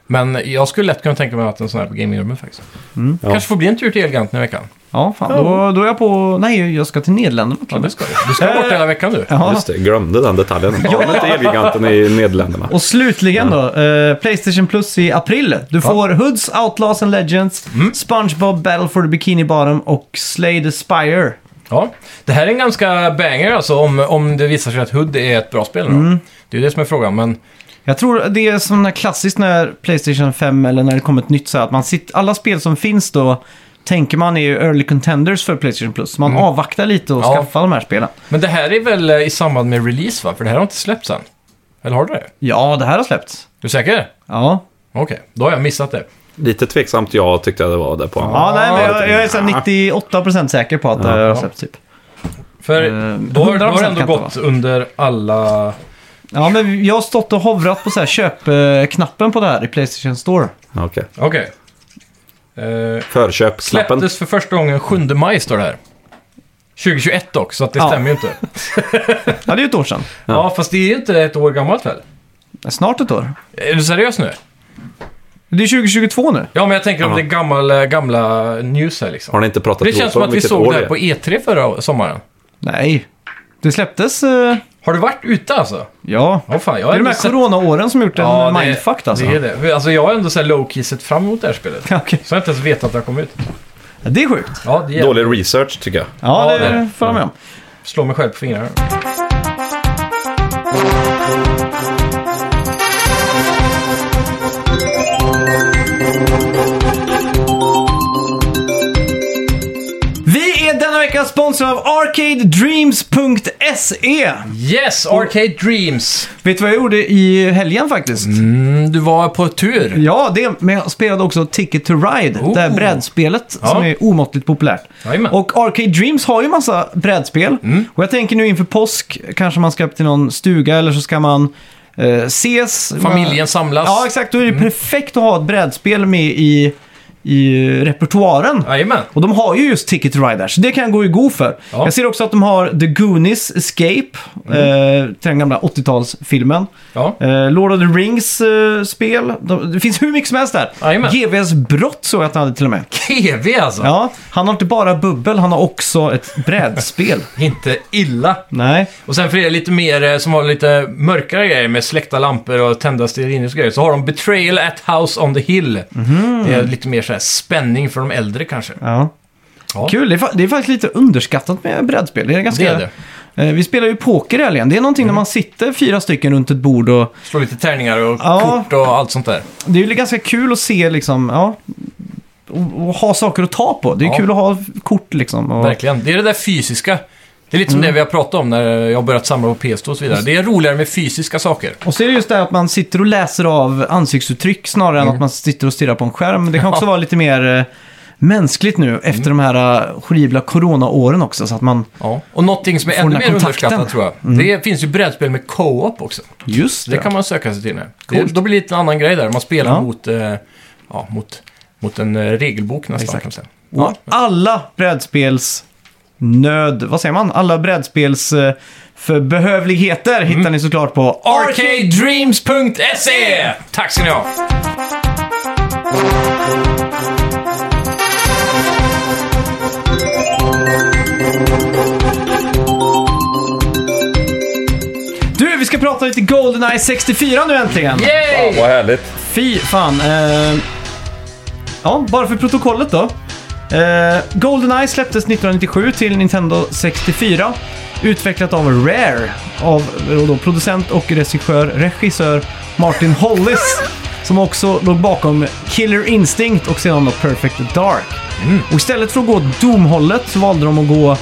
Men jag skulle lätt kunna tänka mig att en sån här på gamingrummet faktiskt. Mm. Ja. Kanske får bli en tur till Elgant nu i veckan. Ja, fan. Då, då är jag på... Nej, jag ska till Nederländerna. Ja, det ska du. Du Äh. ska bort hela veckan nu. Ja. Just det, glömde den detaljen. Har de inte Elgiganten i Nederländerna? Och slutligen då, eh, Playstation Plus i april. Du får Hoods, Outlaws and Legends, Mm. SpongeBob, Battle for the Bikini Bottom och Slay the Spire. Ja. Det här är en ganska banger alltså om, om det visar sig att HUD är ett bra spel. då. Mm. Det är ju det som är frågan. Men Jag tror det är som när klassiskt när Playstation 5 eller när det kommer ett nytt så här, att man sitter, alla spel som finns då tänker man är ju early contenders för Playstation Plus. Man avvaktar lite och Mm. Ja. skaffar de här spelen. Men det här är väl eh, i samband med release va? För det här har inte släppts än. Eller har du det? Ja, det här har släppts. Du är säker? Ja, Okej, då har jag missat det. Lite tveksamt jag tyckte jag det var där på. ja nej, men jag, lite- jag är så här 98% säker på att det har släppts typ. För Eh, då, har- då har det 100% ändå kan det gått under alla... Ja, men jag har stått och hovrat på så här köpknappen på det här i Playstation Store. Okej. Okej. Eh, Förköpsknappen. släpptes för första gången 7 maj står det här. 2021 dock, så att det Ja. stämmer ju inte. Ja. Ja, det är ju ett år sedan. fast det är ju inte ett år gammalt väl? Snart ett år. Är du seriös nu? Det är 2022 nu. Ja, men jag tänker om Ja. det är gamla, gamla news här liksom. Har ni inte pratat Det känns som att vi såg det här på E3 förra sommaren. Nej. Det släpptes... eh, Har du varit ute alltså? ja. Åh fan, jag Det har är de ändå här sett- coronaåren som gjort en mindfuck alltså. Det *laughs* är Det, det. Alltså jag har ändå så här low-key sett fram emot det här spelet. Så jag har inte ens vetat att det har kommit ut. det är sjukt. Ja, det är Dålig research tycker jag. Ja, Ja, det är det det. får jag med om. Slå mig själv på fingrarna. Vi är denna vecka sponsrade av ArcadeDreams.se. Yes, Arcade Dreams! E. Vet du vad jag gjorde i helgen faktiskt? Mm, du var på tur. Ja, det, men jag spelade också Ticket to Ride, Oh. det här brädspelet Ja. som är omåttligt populärt. Jajamän. Mm. Och Arcade Dreams har ju massa brädspel. Och jag tänker nu inför påsk kanske man ska upp till någon stuga eller så ska man eh, ses. Familjen samlas. Ja, exakt. Då är det Mm. perfekt att ha ett brädspel med i, i repertoaren. Jajamän. Och de har ju just Ticket to Ride där, så det kan jag gå i god för. Ja. Mm. Jag ser också att de har The Goonies Escape, eh, till den gamla 80-talsfilmen. Ja. Eh, Lord of the Rings-spel. de, det finns hur mycket som helst där. Jajamän. GVs brott såg jag att han hade till och med. TV alltså. Ja, han har inte bara bubbel, han har också ett *laughs* brädspel. Inte illa. Nej. Och sen för er lite mer eh, som har lite mörkare grejer med släckta lampor och tända stearinljus och grejer så har de Betrayal at House on the Hill. Mhm. Det är lite mer så här spänning för de äldre kanske. Ja. Ja. Kul, det är, fa- det är faktiskt lite underskattat med brädspel. Det är ganska... Det är det. Mm. Eh, Vi spelar ju poker i helgen. Det är någonting när man sitter fyra stycken runt ett bord och Slå lite tärningar och Ja. kort och allt sånt där. det är ju ganska kul att se liksom, ja, och, och ha saker att ta på. Det är Ja. kul att ha kort liksom. Och, Verkligen. Det är det där fysiska. Det är lite som Mm. det vi har pratat om när jag har börjat samla på PS2 och så vidare. Det är roligare med fysiska saker. och så är det just det här att man sitter och läser av ansiktsuttryck snarare än att man sitter och stirrar på en skärm. Det kan också vara lite mer eh, mänskligt nu efter de här eh, horribla coronaåren också. Så att man, Ja. Och någonting som är Får ännu den här mer kontakten. Mm. underskattat tror jag. Det finns ju brädspel med co-op också. just Så det kan man söka sig till nu. Det, då blir det lite en annan grej där. Man spelar Ja. mot, eh, ja, mot, mot en eh, regelbok nästan. Exakt. Kan man säga. Och alla brädspels nöd, vad säger man? Alla brädspels eh, för behövligheter hittar ni såklart på Arcade. Arcadedreams.se! Tack ska ni ha! Du, vi ska prata lite Goldeneye 64 nu äntligen. Yay! Vad härligt. Fy fan. Eh, ja, bara för protokollet då. Eh, Goldeneye släpptes 1997 till Nintendo 64. Utvecklat av Rare. Av eh, då, producent och regissör, regissör Martin Hollis. Som också låg bakom Killer Instinct och sedan då Perfect Dark. Och istället för att gå Doom-hållet så valde de att gå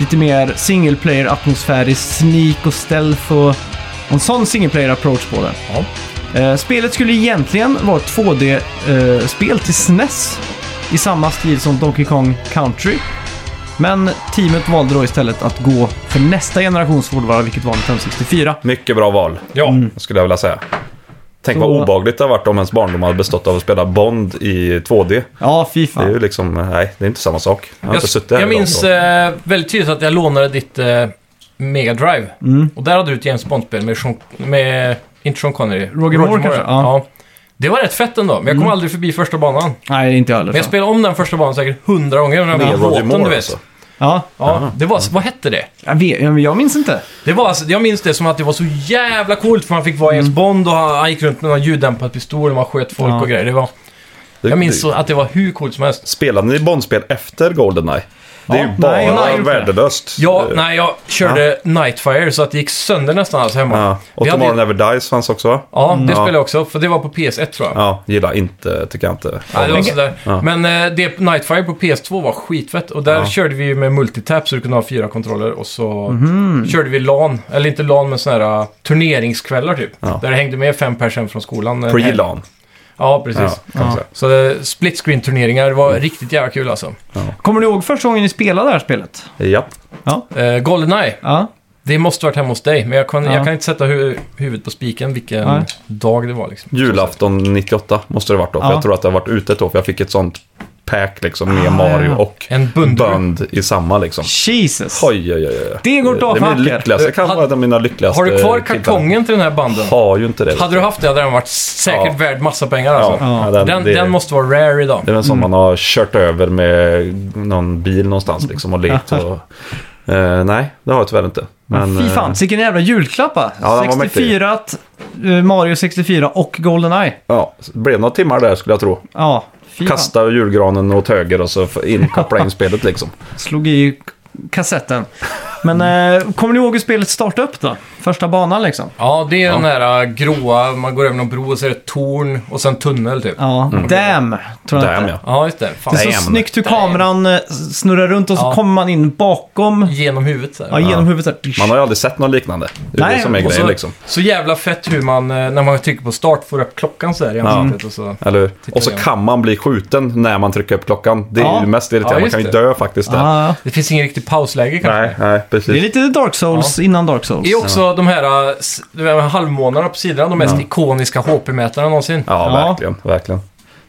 lite mer single player-atmosfärisk sneak och stealth och en sån single player-approach på det. Ja. Eh, spelet skulle egentligen vara ett 2D-spel till SNES i samma stil som Donkey Kong Country. Men teamet valde då istället att gå för nästa generations hårdvara, vilket var Nintendo 64. Mycket bra val, Mm. Ja. skulle jag vilja säga. Tänk Så- vad obagligt det har varit om ens barndom hade bestått av att spela Bond i 2D. Ja, fy Det är ju fan. liksom, nej, det är inte samma sak. Jag har Jag, inte suttit här jag idag, minns så. eh, väldigt tydligt att jag lånade ditt eh, Mega Drive. Mm. Och där hade du ett James Bond-spel med, Sean, med, inte Sean Connery, Roger Moore kanske, ja. Mm. Det var rätt fett ändå, men jag kom aldrig förbi första banan. Nej, inte jag heller. Men jag fan. spelade om den första banan säkert hundra gånger. När jag Med var Roger båten, Moore du vet. alltså. Ja, Ja, det var, vad hette det? jag, vet, jag jag minns inte. det var, alltså, jag minns det som att det var så jävla coolt för man fick vara James Mm. Bond och han, han gick runt med en ljuddämpad pistol och man sköt folk Ja. och grejer. Det var, Det- jag minns det- så att det var hur coolt som helst. Spelade ni Bond-spel efter Goldeneye? Det är Ja, ju bara nej, jag har gjort det. värdelöst. Ja, Eh, nej, jag körde Nightfire så att det gick sönder nästan alls hemma. Ja. Och Vi hade- Tomorrow Never Dies fanns också va? Ja, det Ja. spelade jag också, för det var på PS1 tror jag. Ja, gillar inte, tycker jag inte. Nej, det var sådär. Ja. Men eh, det, Nightfire på PS2 var skitfett. Och där Ja. körde vi ju med multitap så du kunde ha fyra kontroller. Och så Mhm. körde vi LAN, eller inte LAN men sådana här eh, turneringskvällar typ. Ja. Där det hängde med fem pers hem från skolan. en helg. Pre-LAN. Ja, precis. Ja, kan man säga. Så eh, split screen-turneringar var riktigt jävla kul alltså. Kommer du ihåg första gången ni spelade det här spelet? Japp. Eh, Goldeneye, Ja. det måste varit hemma hos dig. Men jag kan, Ja. jag kan inte sätta hu huvudet på spiken vilken Nej. dag det var liksom. Julafton 98 måste det varit då. För Ja. jag tror att det har varit ute ett år. För jag fick ett sånt pack liksom med Ah, Mario ja. och En bund. Band i samma liksom. Jesus. Oj, oj, oj. oj. Det går inte av Det är för min hacker. lyckligaste. Det kan Har- vara en av mina lyckligaste Har du kvar tillfällen. kartongen till den här banden? Har ju inte det. vet Hade du haft det hade den varit säkert Ja. värd massa pengar Ja, alltså. Ja. ja, Den, Den, det, den måste vara rare idag. det är en sån man har kört över med någon bil någonstans liksom och lekt och... Eh, nej, det har jag tyvärr inte. Men, Fy fan, eh, vilken jävla julklapp va? Ja, den var mäktig. 64, eh, Mario 64 och Goldeneye. ja, det blev några timmar där skulle jag tro. Ja, fy fan. Kasta julgranen åt höger och så f- in, koppla in spelet liksom. Slog i kassetten. Men Mm. eh, kommer ni ihåg hur spelet startade upp då? Första banan liksom? Ja, det är den här äh, gråa, man går över någon bro och så är det ett torn och sen tunnel typ. Ja, Ja, damn. Tror jag Mm. Damn inte. ja. just det. Fan. Det är så Damn. snyggt hur kameran eh, snurrar runt och så Ja. kommer man in bakom. Genom huvudet så här. Ja, genom huvudet. Man såhär. har ju aldrig sett något liknande. Det är Nej, det som är Och grejen så, liksom. så jävla fett hur man, eh, när man trycker på start, får upp klockan så här i ansiktet. Och så. Eller hur? Titta Och så igen. kan man bli skjuten när man trycker upp klockan. Det är Ja. ju mest Ja, irriterande. man just kan ju det. dö faktiskt där. Ja, Det finns ingen riktigt pausläge kanske. Nej, nej, det är precis. lite Dark Souls innan Dark Souls. Det är också de här äh, s- de här halvmånarna på sidan, de mest ikoniska HP-mätarna någonsin. Ja, Ja. verkligen. Verkligen.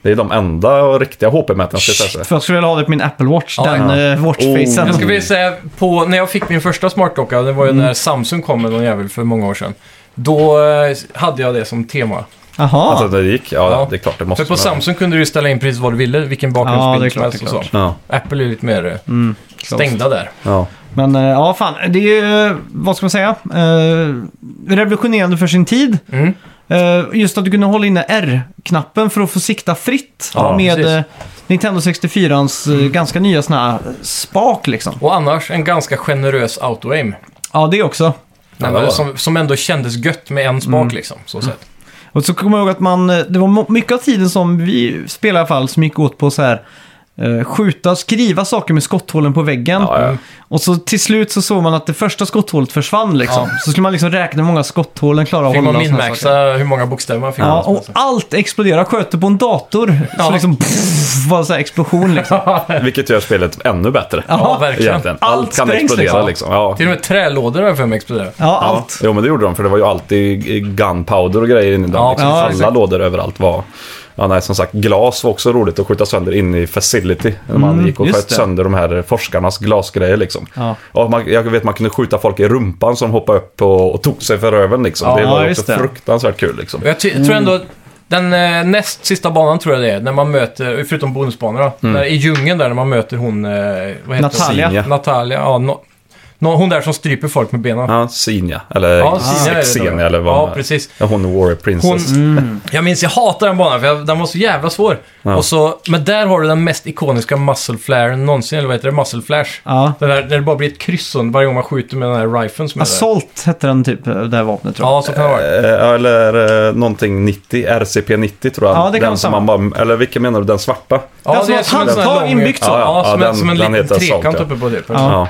Det är de enda och riktiga HP-mätarna ska jag säga. Shit, för jag skulle vilja ha det på min Apple Watch. Ja, den ja. eh, Oh. watchfacen. Jag skulle vilja säga, på, när jag fick min första smartklocka, det var ju Mm. när Samsung kom med någon jävel för många år sedan. Då eh, hade jag det som tema. Jaha. Alltså, det gick. Ja, Ja. det är klart. Det måste För på Samsung kunde du ju ställa in precis vad du ville, vilken Ja, det är bakgrundsbild som klart, helst det är och så. klart. Mm. Ja, Apple är lite mer eh, stängda där. ja. Men eh, ja, fan. Det är ju, vad ska man säga, eh, revolutionerande för sin tid. Mm. Eh, just att du kunde hålla inne R-knappen för att få sikta fritt Ja, med precis. Mm. eh, Nintendo 64-ans eh, ganska nya såna här spak liksom. Och annars en ganska generös auto-aim. Ja, det också. Nej, det var men det. som, som ändå kändes gött med en spak Mm. liksom. Så sett. Och så kommer jag ihåg att man, eh, det var mo- mycket av tiden som vi spelade i alla fall som gick åt på så här eh, skjuta, skriva saker med skotthålen på väggen. Ja, ja. Och så till slut så såg man att det första skotthålet försvann liksom. Så skulle man liksom räkna hur många skotthål den klarar av att Fick hålla. man och såna saker. minmaxa hur många bokstäver man fick. Ja, och sånt och där. allt exploderar. Sköter på en dator. Ja. Så liksom pff, var det så här explosion *laughs* liksom. *laughs* Vilket gör spelet ännu bättre. ja, verkligen. Egentligen. Allt Allt, kan sprängs, explodera liksom. liksom. Ja. Till och med trälådor har jag för mig exploderar. Ja, Ja. allt. Jo, men det gjorde de, för det var ju alltid gunpowder och grejer inne i den. Ja, liksom. ja, Alla exakt. lådor överallt var... Ja, nej, som sagt, glas var också roligt att skjuta sönder in i Facility. När man Mm, gick och just sköt det. sönder de här forskarnas glasgrejer liksom. Ja. Och man, jag vet man kunde skjuta folk i rumpan som hoppade upp och, och tog sig för röven liksom. Ja, det var ju också just det. fruktansvärt kul liksom. Och Jag ty- tror ändå att den eh, näst sista banan tror jag det är, när man möter, förutom bonusbanorna, Mm. när, i djungeln där när man möter hon, eh, vad heter Natalia. hon? Natalia. Ja, no, no, hon där som stryper folk med benen. Ja, Sinja, eller Ja, Sinja är det Ah, Xenia, då. eller vad Ja, precis. Ja, Hon är Mm. Warrior Hon, Princess. Jag minns, jag hatar den banan för jag, den var så jävla svår. Och så, men där har du den mest ikoniska muscle flaren någonsin, eller vad heter det? Muscle flash. Ja. Den där, där det bara blir ett kryss runt varje gång man skjuter med den här riflen som är Alltså, där. Assault hette den typ, det här vapnet tror jag. Ja, så kan det vara. Eh, Eller eh, någonting 90, RCP 90 tror jag. Ja, det kan vara den som man bara, eller vilken menar du, den svarta? Ja, Den som det är har som en ett sån här handtag lång- inbyggt så. Ja, Ja, som, ja, en, som en den- den liten heter Assault, trekant ja. uppe på typ. det. Ja. Ja.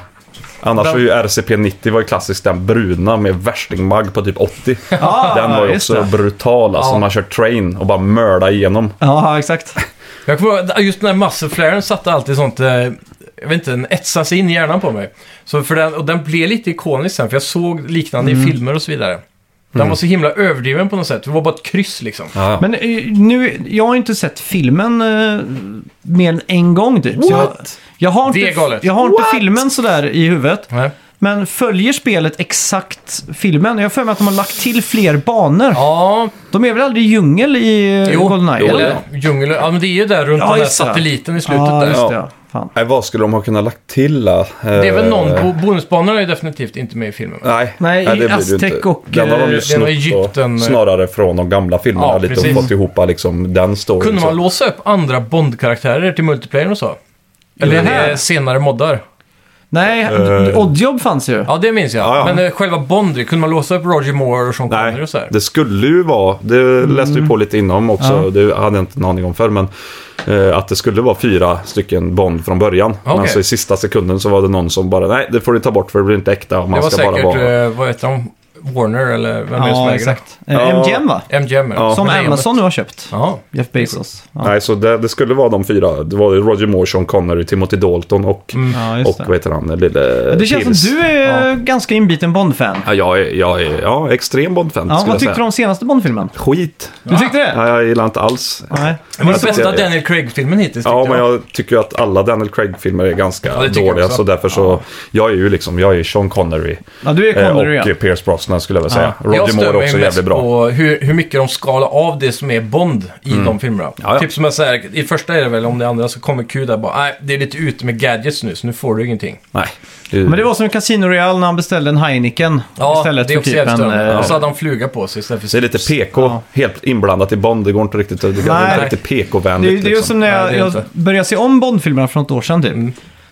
Annars Den- var ju RCP 90 var ju klassiskt den bruna med värstingmagg på typ 80. Ja, den var ju just också det. brutal alltså. Ja. Man kör train och bara mörda igenom. Ja, exakt. Jag kommer ihåg, just den här muscle flaren satte alltid sånt, eh, jag vet inte, den etsade sig in Mm. i hjärnan på mig. Så för den, och den blev lite ikonisk sen, för jag såg liknande i filmer och så vidare. Den var så himla överdriven på något sätt. Det var bara ett kryss liksom. Ja. Men eh, nu, jag har inte sett filmen eh, mer än en gång typ. Så Jag, What? jag har inte, Det är galet. Jag har inte filmen sådär i huvudet. Nej. Men följer spelet exakt filmen? Jag har för mig att de har lagt till fler banor. Ja, De är väl aldrig i djungel i eh, jo. GoldenEye? jo, eller? det. Djungel, ja, men det är ju där runt Ja, den där just det. satelliten i slutet Ja, där. just Ja. det. Ja. Fan. Nej, Eh, vad skulle de ha kunnat lagt till? då? Eh, Det är väl någon, bo- bonusbanorna är ju definitivt inte med i filmen. Nej, Nej, i det blir det ju Aztec inte. och, Den har de eh, ju den var snott Egypten, Egypten, eh. snarare från de gamla filmerna Ja, lite precis. och fått ihop liksom, den storyn. Kunde man så. låsa upp andra Bond-karaktärer till multiplayer och så? Eller det här? eh, senare moddar? Nej, Eh. Oddjob fanns ju. Ja, det minns jag. Ja, ja. Men eh, själva Bond, kunde man låsa upp Roger Moore och Sean Connery Nej, och så här? det skulle ju vara, det läste vi på lite inom också, det hade jag inte en aning om förr, men eh, att det skulle vara fyra stycken Bond från början. Men Okej. så i sista sekunden så var det någon som bara, nej det får du ta bort för det blir inte äkta om Det man var ska säkert, bara vara... eh, vad heter de? Warner eller vem är det som Ja, äger det? exakt. Eh, Ja. MGM va? MGM är det. Ja. Som Lejonet. Amazon nu har köpt. Ja. Jeff Bezos. Ja, Nej, så det, det skulle vara de fyra. Det var Roger Moore, Sean Connery, Timothy Dalton och, Mm. ja och just vad det. heter han, lille Det känns Pierce. som du är ganska inbiten Bond-fan. Ja, jag är, jag är ja, extrem Bond-fan Ja, skulle vad jag säga. tyckte du om senaste Bond-filmen? Skit. Du tyckte det? Ja, Alltså, jag gillar inte alls. Nej. Det var den tyckte bästa jag- Daniel Craig-filmen hittills Ja, tyckte men jag tycker ju att alla Daniel Craig-filmer är ganska det tycker jag dåliga. också. Så därför så, jag är ju liksom, jag är Sean Connery. Ja, du är eh, Connery och ja. Pierce Brosnan skulle jag vilja säga. Ja. Jag Roger stör Moore är mig också mest jävligt bra. på hur, hur mycket de skalar av det som är Bond i de filmerna. Mm. Ja, ja. Typ som jag säger, i första är det väl, om det andra så kommer Q där bara, nej, det är lite ute med gadgets nu, så nu får du ingenting. Nej. Men det var som i Casino Royale när han beställde en Heineken Ja, istället det är för också typ jävligt en... störande. Alltså, eh, Och så hade han fluga på sig istället för det är lite PK, Ja. helt inblandat i Bond. Det går inte riktigt, det går Nej. inte riktigt Det, är- det PK-vänligt. är ju Liksom. som när jag, Nej, det är jag inte. Mm. började se om Bond-filmerna för något år sedan typ.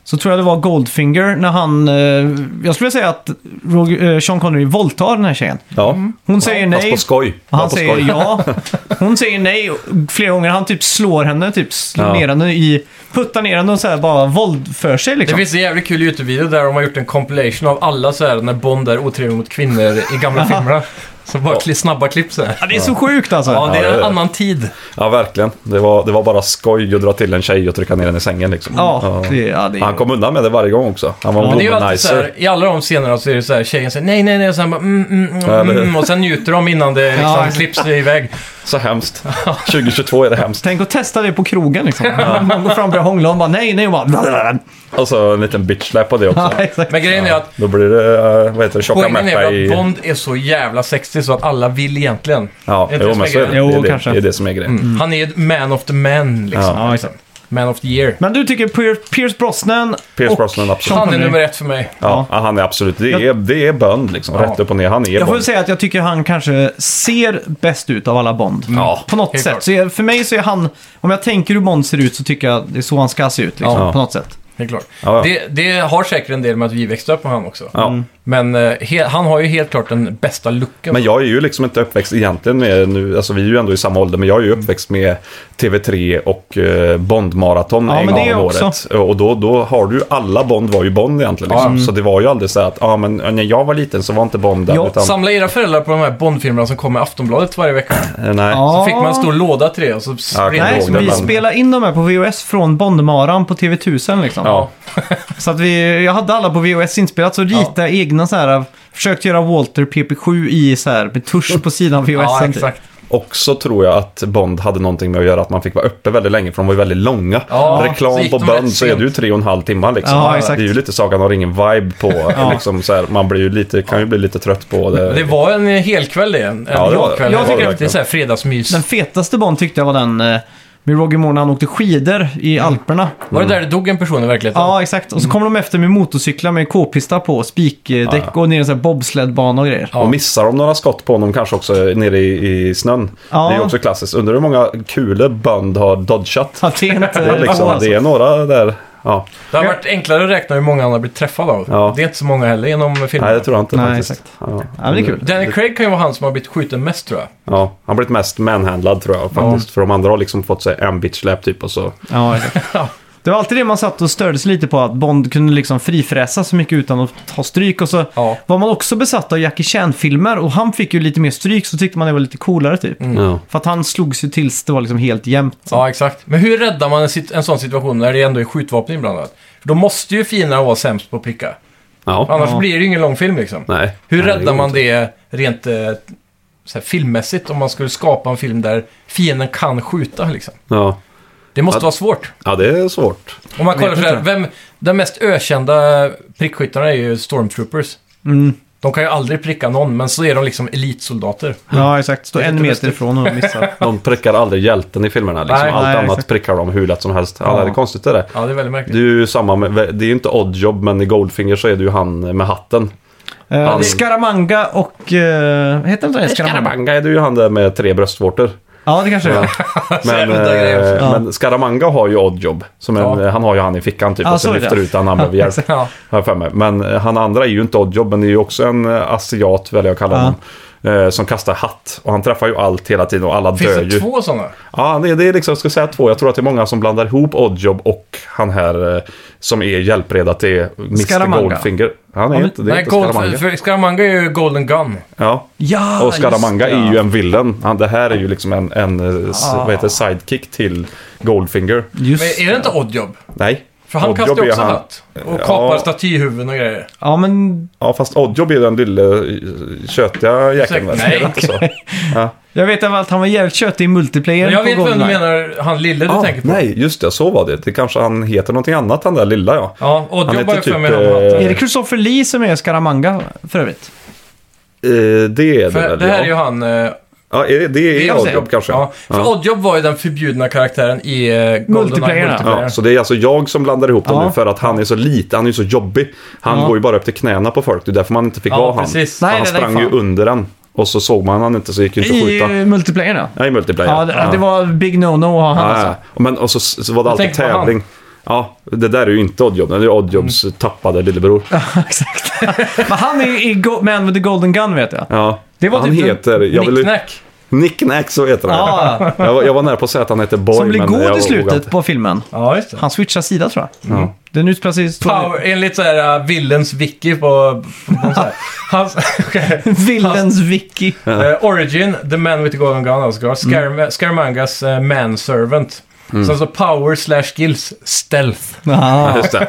Så tror jag det var Goldfinger när han... eh, jag skulle vilja säga att Roger, eh, Sean Connery våldtar den här tjejen. Ja. Hon säger Fast Mm. nej. på skoj. Och Bara Han på säger skoj. ja. *laughs* Hon säger nej flera gånger. Han typ slår henne, typ slår Ja. ner henne i... Puttar ner henne och så här bara våld för sig Det liksom. finns en jävligt kul YouTube-video där de har gjort en compilation av alla så här när Bond är otrevlig mot kvinnor i *laughs* gamla filmerna. Så bara kli- snabba klipp så här. Ja, det är så sjukt alltså. Ja, det Ja, det är är en det. annan tid. *laughs* Ja, verkligen. Det var, det var bara skoj att dra till en tjej och trycka ner henne i sängen liksom. Ja, det, ja, det Han är... kom undan med det varje gång också. Han var Men en det är ju alltid så womanizer. här, i alla de scenerna så är det så här, tjejen säger nej, nej, nej, och sen bara mm, mm, Ja, mm, eller hur? mm, och sen njuter de innan det liksom Ja. klipps iväg. *laughs* Så hemskt. 2022 är det hemskt. Tänk att testa det på krogen liksom. *laughs* Man går fram och börjar hångla och bara nej, nej och bara... Och så Alltså, en liten bitch-slap på det också. *laughs* Ja, exakt. Men grejen är att Då blir det, eh, vad heter det, tjocka poängen är Märta väl i... att Bond är så jävla sexig så att alla vill egentligen. Ja, Är inte jo, det men som så är är det. grejen? det, är Jo, det, kanske. Mm. det är det som är grejen. Han är man of the man liksom. Ja, exakt. Man of the year. Men du tycker Pier- Pierce Brosnan Pierce och Brosnan, absolut. Sean Han är Connery. nummer ett för mig. Ja, han är absolut, det är, det är Bond liksom. Ja. Rätt upp och ner, han är Jag får väl Bond. säga att jag tycker han kanske ser bäst ut av alla Bond. Ja, På något Mm. helt sätt. klart. Så jag, för mig så är han, om jag tänker hur Bond ser ut så tycker jag det är så han ska se ut. Liksom, Ja. På något sätt. Det är klart. Ja, ja. Det, det har säkert en del med att vi växte upp med han också. Ja. Men eh, he, han har ju helt klart den bästa looken. Men jag är ju liksom inte uppväxt egentligen med, nu, alltså vi är ju ändå i samma ålder, men jag är ju uppväxt med TV3 och eh, Bond-maraton Ja, en men det gång är om jag året. Och då, då har du ju, alla Bond var ju Bond egentligen. Liksom. Mm. Så det var ju aldrig så här att, ja men när jag var liten så var inte Bond där. Ja, utan, Samla era föräldrar på de här Bondfilmerna som kommer i Aftonbladet varje vecka. eh, nej. Så fick man en stor låda till det och så spred jag Nej, ihåg så det, vi men- spelade in de här på VHS från Bondmaran på TV1000 liksom. Ja. Så att vi, jag hade alla på VHS inspelat, så ritade jag egna så här, försökt göra Walter PP7 i så här, med tusch på *laughs* sidan av VHS. Ja, exakt. Också tror jag att Bond hade någonting med att göra att man fick vara uppe väldigt länge för de var ju väldigt långa. Ja, så Reklam gick på de Bond rätt så är det ju sent. tre och en halv timme liksom. Ja, exakt. Det är ju lite Sagan om ingen-vibe *laughs* på. liksom, så här, man blir ju lite, kan ju bli lite trött på det. Det var en hel kväll det. En Ja, det var det. jag-kväll. Ja, Jag det var tycker det att det är verkligen. så här fredagsmys. Den fetaste Bond tyckte jag var den eh, med Roger Moore när han åkte skidor i Alperna. Var det där det dog en person i verkligheten? Ja, exakt. Och så kommer de efter med motorcyklar med k-pista på, spikdäck och ner i en sån här bobsledbana och grejer. Ja. Och missar de några skott på honom kanske också eh, nere i, i snön. Ja. Det är ju också klassiskt. Undrar hur många kulor Bond har dodgat. Ja, det är inte... Det är, liksom, Ja, alltså. det är några där. Ja, Det har varit enklare att räkna hur många han har blivit träffad av. Ja. Det är inte så många heller genom nej det filmen. tror jag inte Nej, faktiskt. exakt. Ja. Ja, men det är kul. Daniel Craig kan ju vara han som har blivit skjuten mest tror jag. Ja, han har blivit mest manhandlad tror jag faktiskt. För de andra har liksom fått sig en bitch slap typ och så. Ja, exakt. Ja. Det var alltid det man satt och störde sig lite på, att Bond kunde liksom frifräsa så mycket utan att ta stryk. Och så Ja. var man också besatt av Jackie Chan-filmer och han fick ju lite mer stryk så tyckte man det var lite coolare typ. Mm. Ja. För att han slogs ju tills det var liksom helt jämnt. Mm. Ja, exakt. Men hur räddar man en, sit- en sån situation när det ändå är skjutvapen inblandat? För då måste ju fienderna vara sämst på att pricka. Ja. Annars blir det ju ingen lång film liksom. Nej. Hur Nej, räddar går man inte. det rent eh, så här, filmmässigt om man skulle skapa en film där fienden kan skjuta liksom. Ja. Det måste Ja. vara svårt. ja, det är svårt. Om man Jag kollar vet så här, inte. vem, de mest ökända prickskyttarna är ju stormtroopers. Mm. De kan ju aldrig pricka någon, men så är de liksom elitsoldater. Ja, exakt. Stå Det är en lite meter lustigt. ifrån och missa. De prickar aldrig hjälten i filmerna. Liksom. Nej, Allt nej, annat exakt. prickar de hur lätt som helst. Ja. Ja. det är konstigt det där. Ja, det är väldigt Det är märkligt. ju samma med, det är ju inte Oddjob men i Goldfinger så är det ju han med hatten. Eh, Han- Scaramanga och... eh, heter inte det Scaramanga? Scaramanga är det ju han där med tre bröstvårtor. Ja, det kanske det är. Men, Jävla grej också. eh, Ja. men Scaramanga har ju Oddjob. Som en, Ja. Han har ju han i fickan typ Ja, och så sen är det. lyfter ut han när han behöver hjälp. *laughs* Ja. Har jag för mig. Men eh, han andra är ju inte Oddjob, men det är ju också en eh, asiat, väljer jag att kalla Ja. honom. eh, Som kastar hatt. Och han träffar ju allt hela tiden och alla Finns dör det ju. två sådana? Ja, det, det är liksom, jag ska säga två. Jag tror att det är många som blandar ihop Oddjob och han här eh, som är hjälpreda till Mr Scaramanga. Goldfinger. Han är men- inte, det är Nej, inte Gold, Scaramanga. För Scaramanga är ju Golden Gun. Ja. Ja, Och Scaramanga just det, är ju ja. en villain. Han, det här är ju liksom en, en eh, s- Ah. vad heter, det, sidekick till Goldfinger. Just Men är det inte Oddjob? Nej. För han Oddjob kastar ju är också han- hatt. Och kapar Ja. statyhuvuden och grejer. Ja, men Ja, fast Oddjob är den lille eh, tjötiga jäkeln. väl? Nej. Är det inte *laughs* så? jag vet att han var jävligt tjötig i multiplayer Men jag på vet vem du Goldeneye. menar, han lille du Ah, tänker på. Nej, just det. Så var det. Det kanske han heter någonting annat, han där lilla ja. Ja, Han Oddjob heter har jag för mig typ, han har eh, hatten. Är det Christopher Lee som är Scaramanga för övrigt? Eh, det är det För väl det här ja. är ju han... eh, ja är det, det är jag säger. Oddjob kanske. Ja, för Oddjob var ju den förbjudna karaktären i eh, Goldeneye Multiplayer. Ja, så det är alltså jag som blandar ihop dem Ja. nu för att han är så liten, han är ju så jobbig. Han Ja. går ju bara upp till knäna på folk, det är därför man inte fick Ja, vara han. precis. Nej, han nej, nej, sprang fan. ju under den och så såg man han inte så gick det inte att I skjuta. eh, multiplayer ja. Ja, i multiplayer. Ja, det, det var big no-no att ha han Ja, alltså. ja. Men, och så, så var det alltid tänker på han. tävling. Ja, det där är ju inte Oddjob, det är ju Oddjobs Mm. tappade lillebror. *laughs* Exakt. Men han är ju i Go- Man with the Golden Gun vet jag. Ja. Det var han typ en heter... Jag vill, Nicknack. Nicknack så heter han. Ja. Jag, var, jag var nära på att säga att han heter Boy, Som blir men god jag i vågade inte. slutet på filmen. Ja, just det. Han switchar sida tror jag. Ja. Den utspelar sig i... Power, enligt såhär uh, Villens Vicky på... på någon så här. Hans, okej. Villens Vicky. Eh, Origin, The Man with the Golden Gun, alltså. Scaram Scaramangas eh, Manservant. Sen så Power slash Skills, Stealth. Ja. Just det.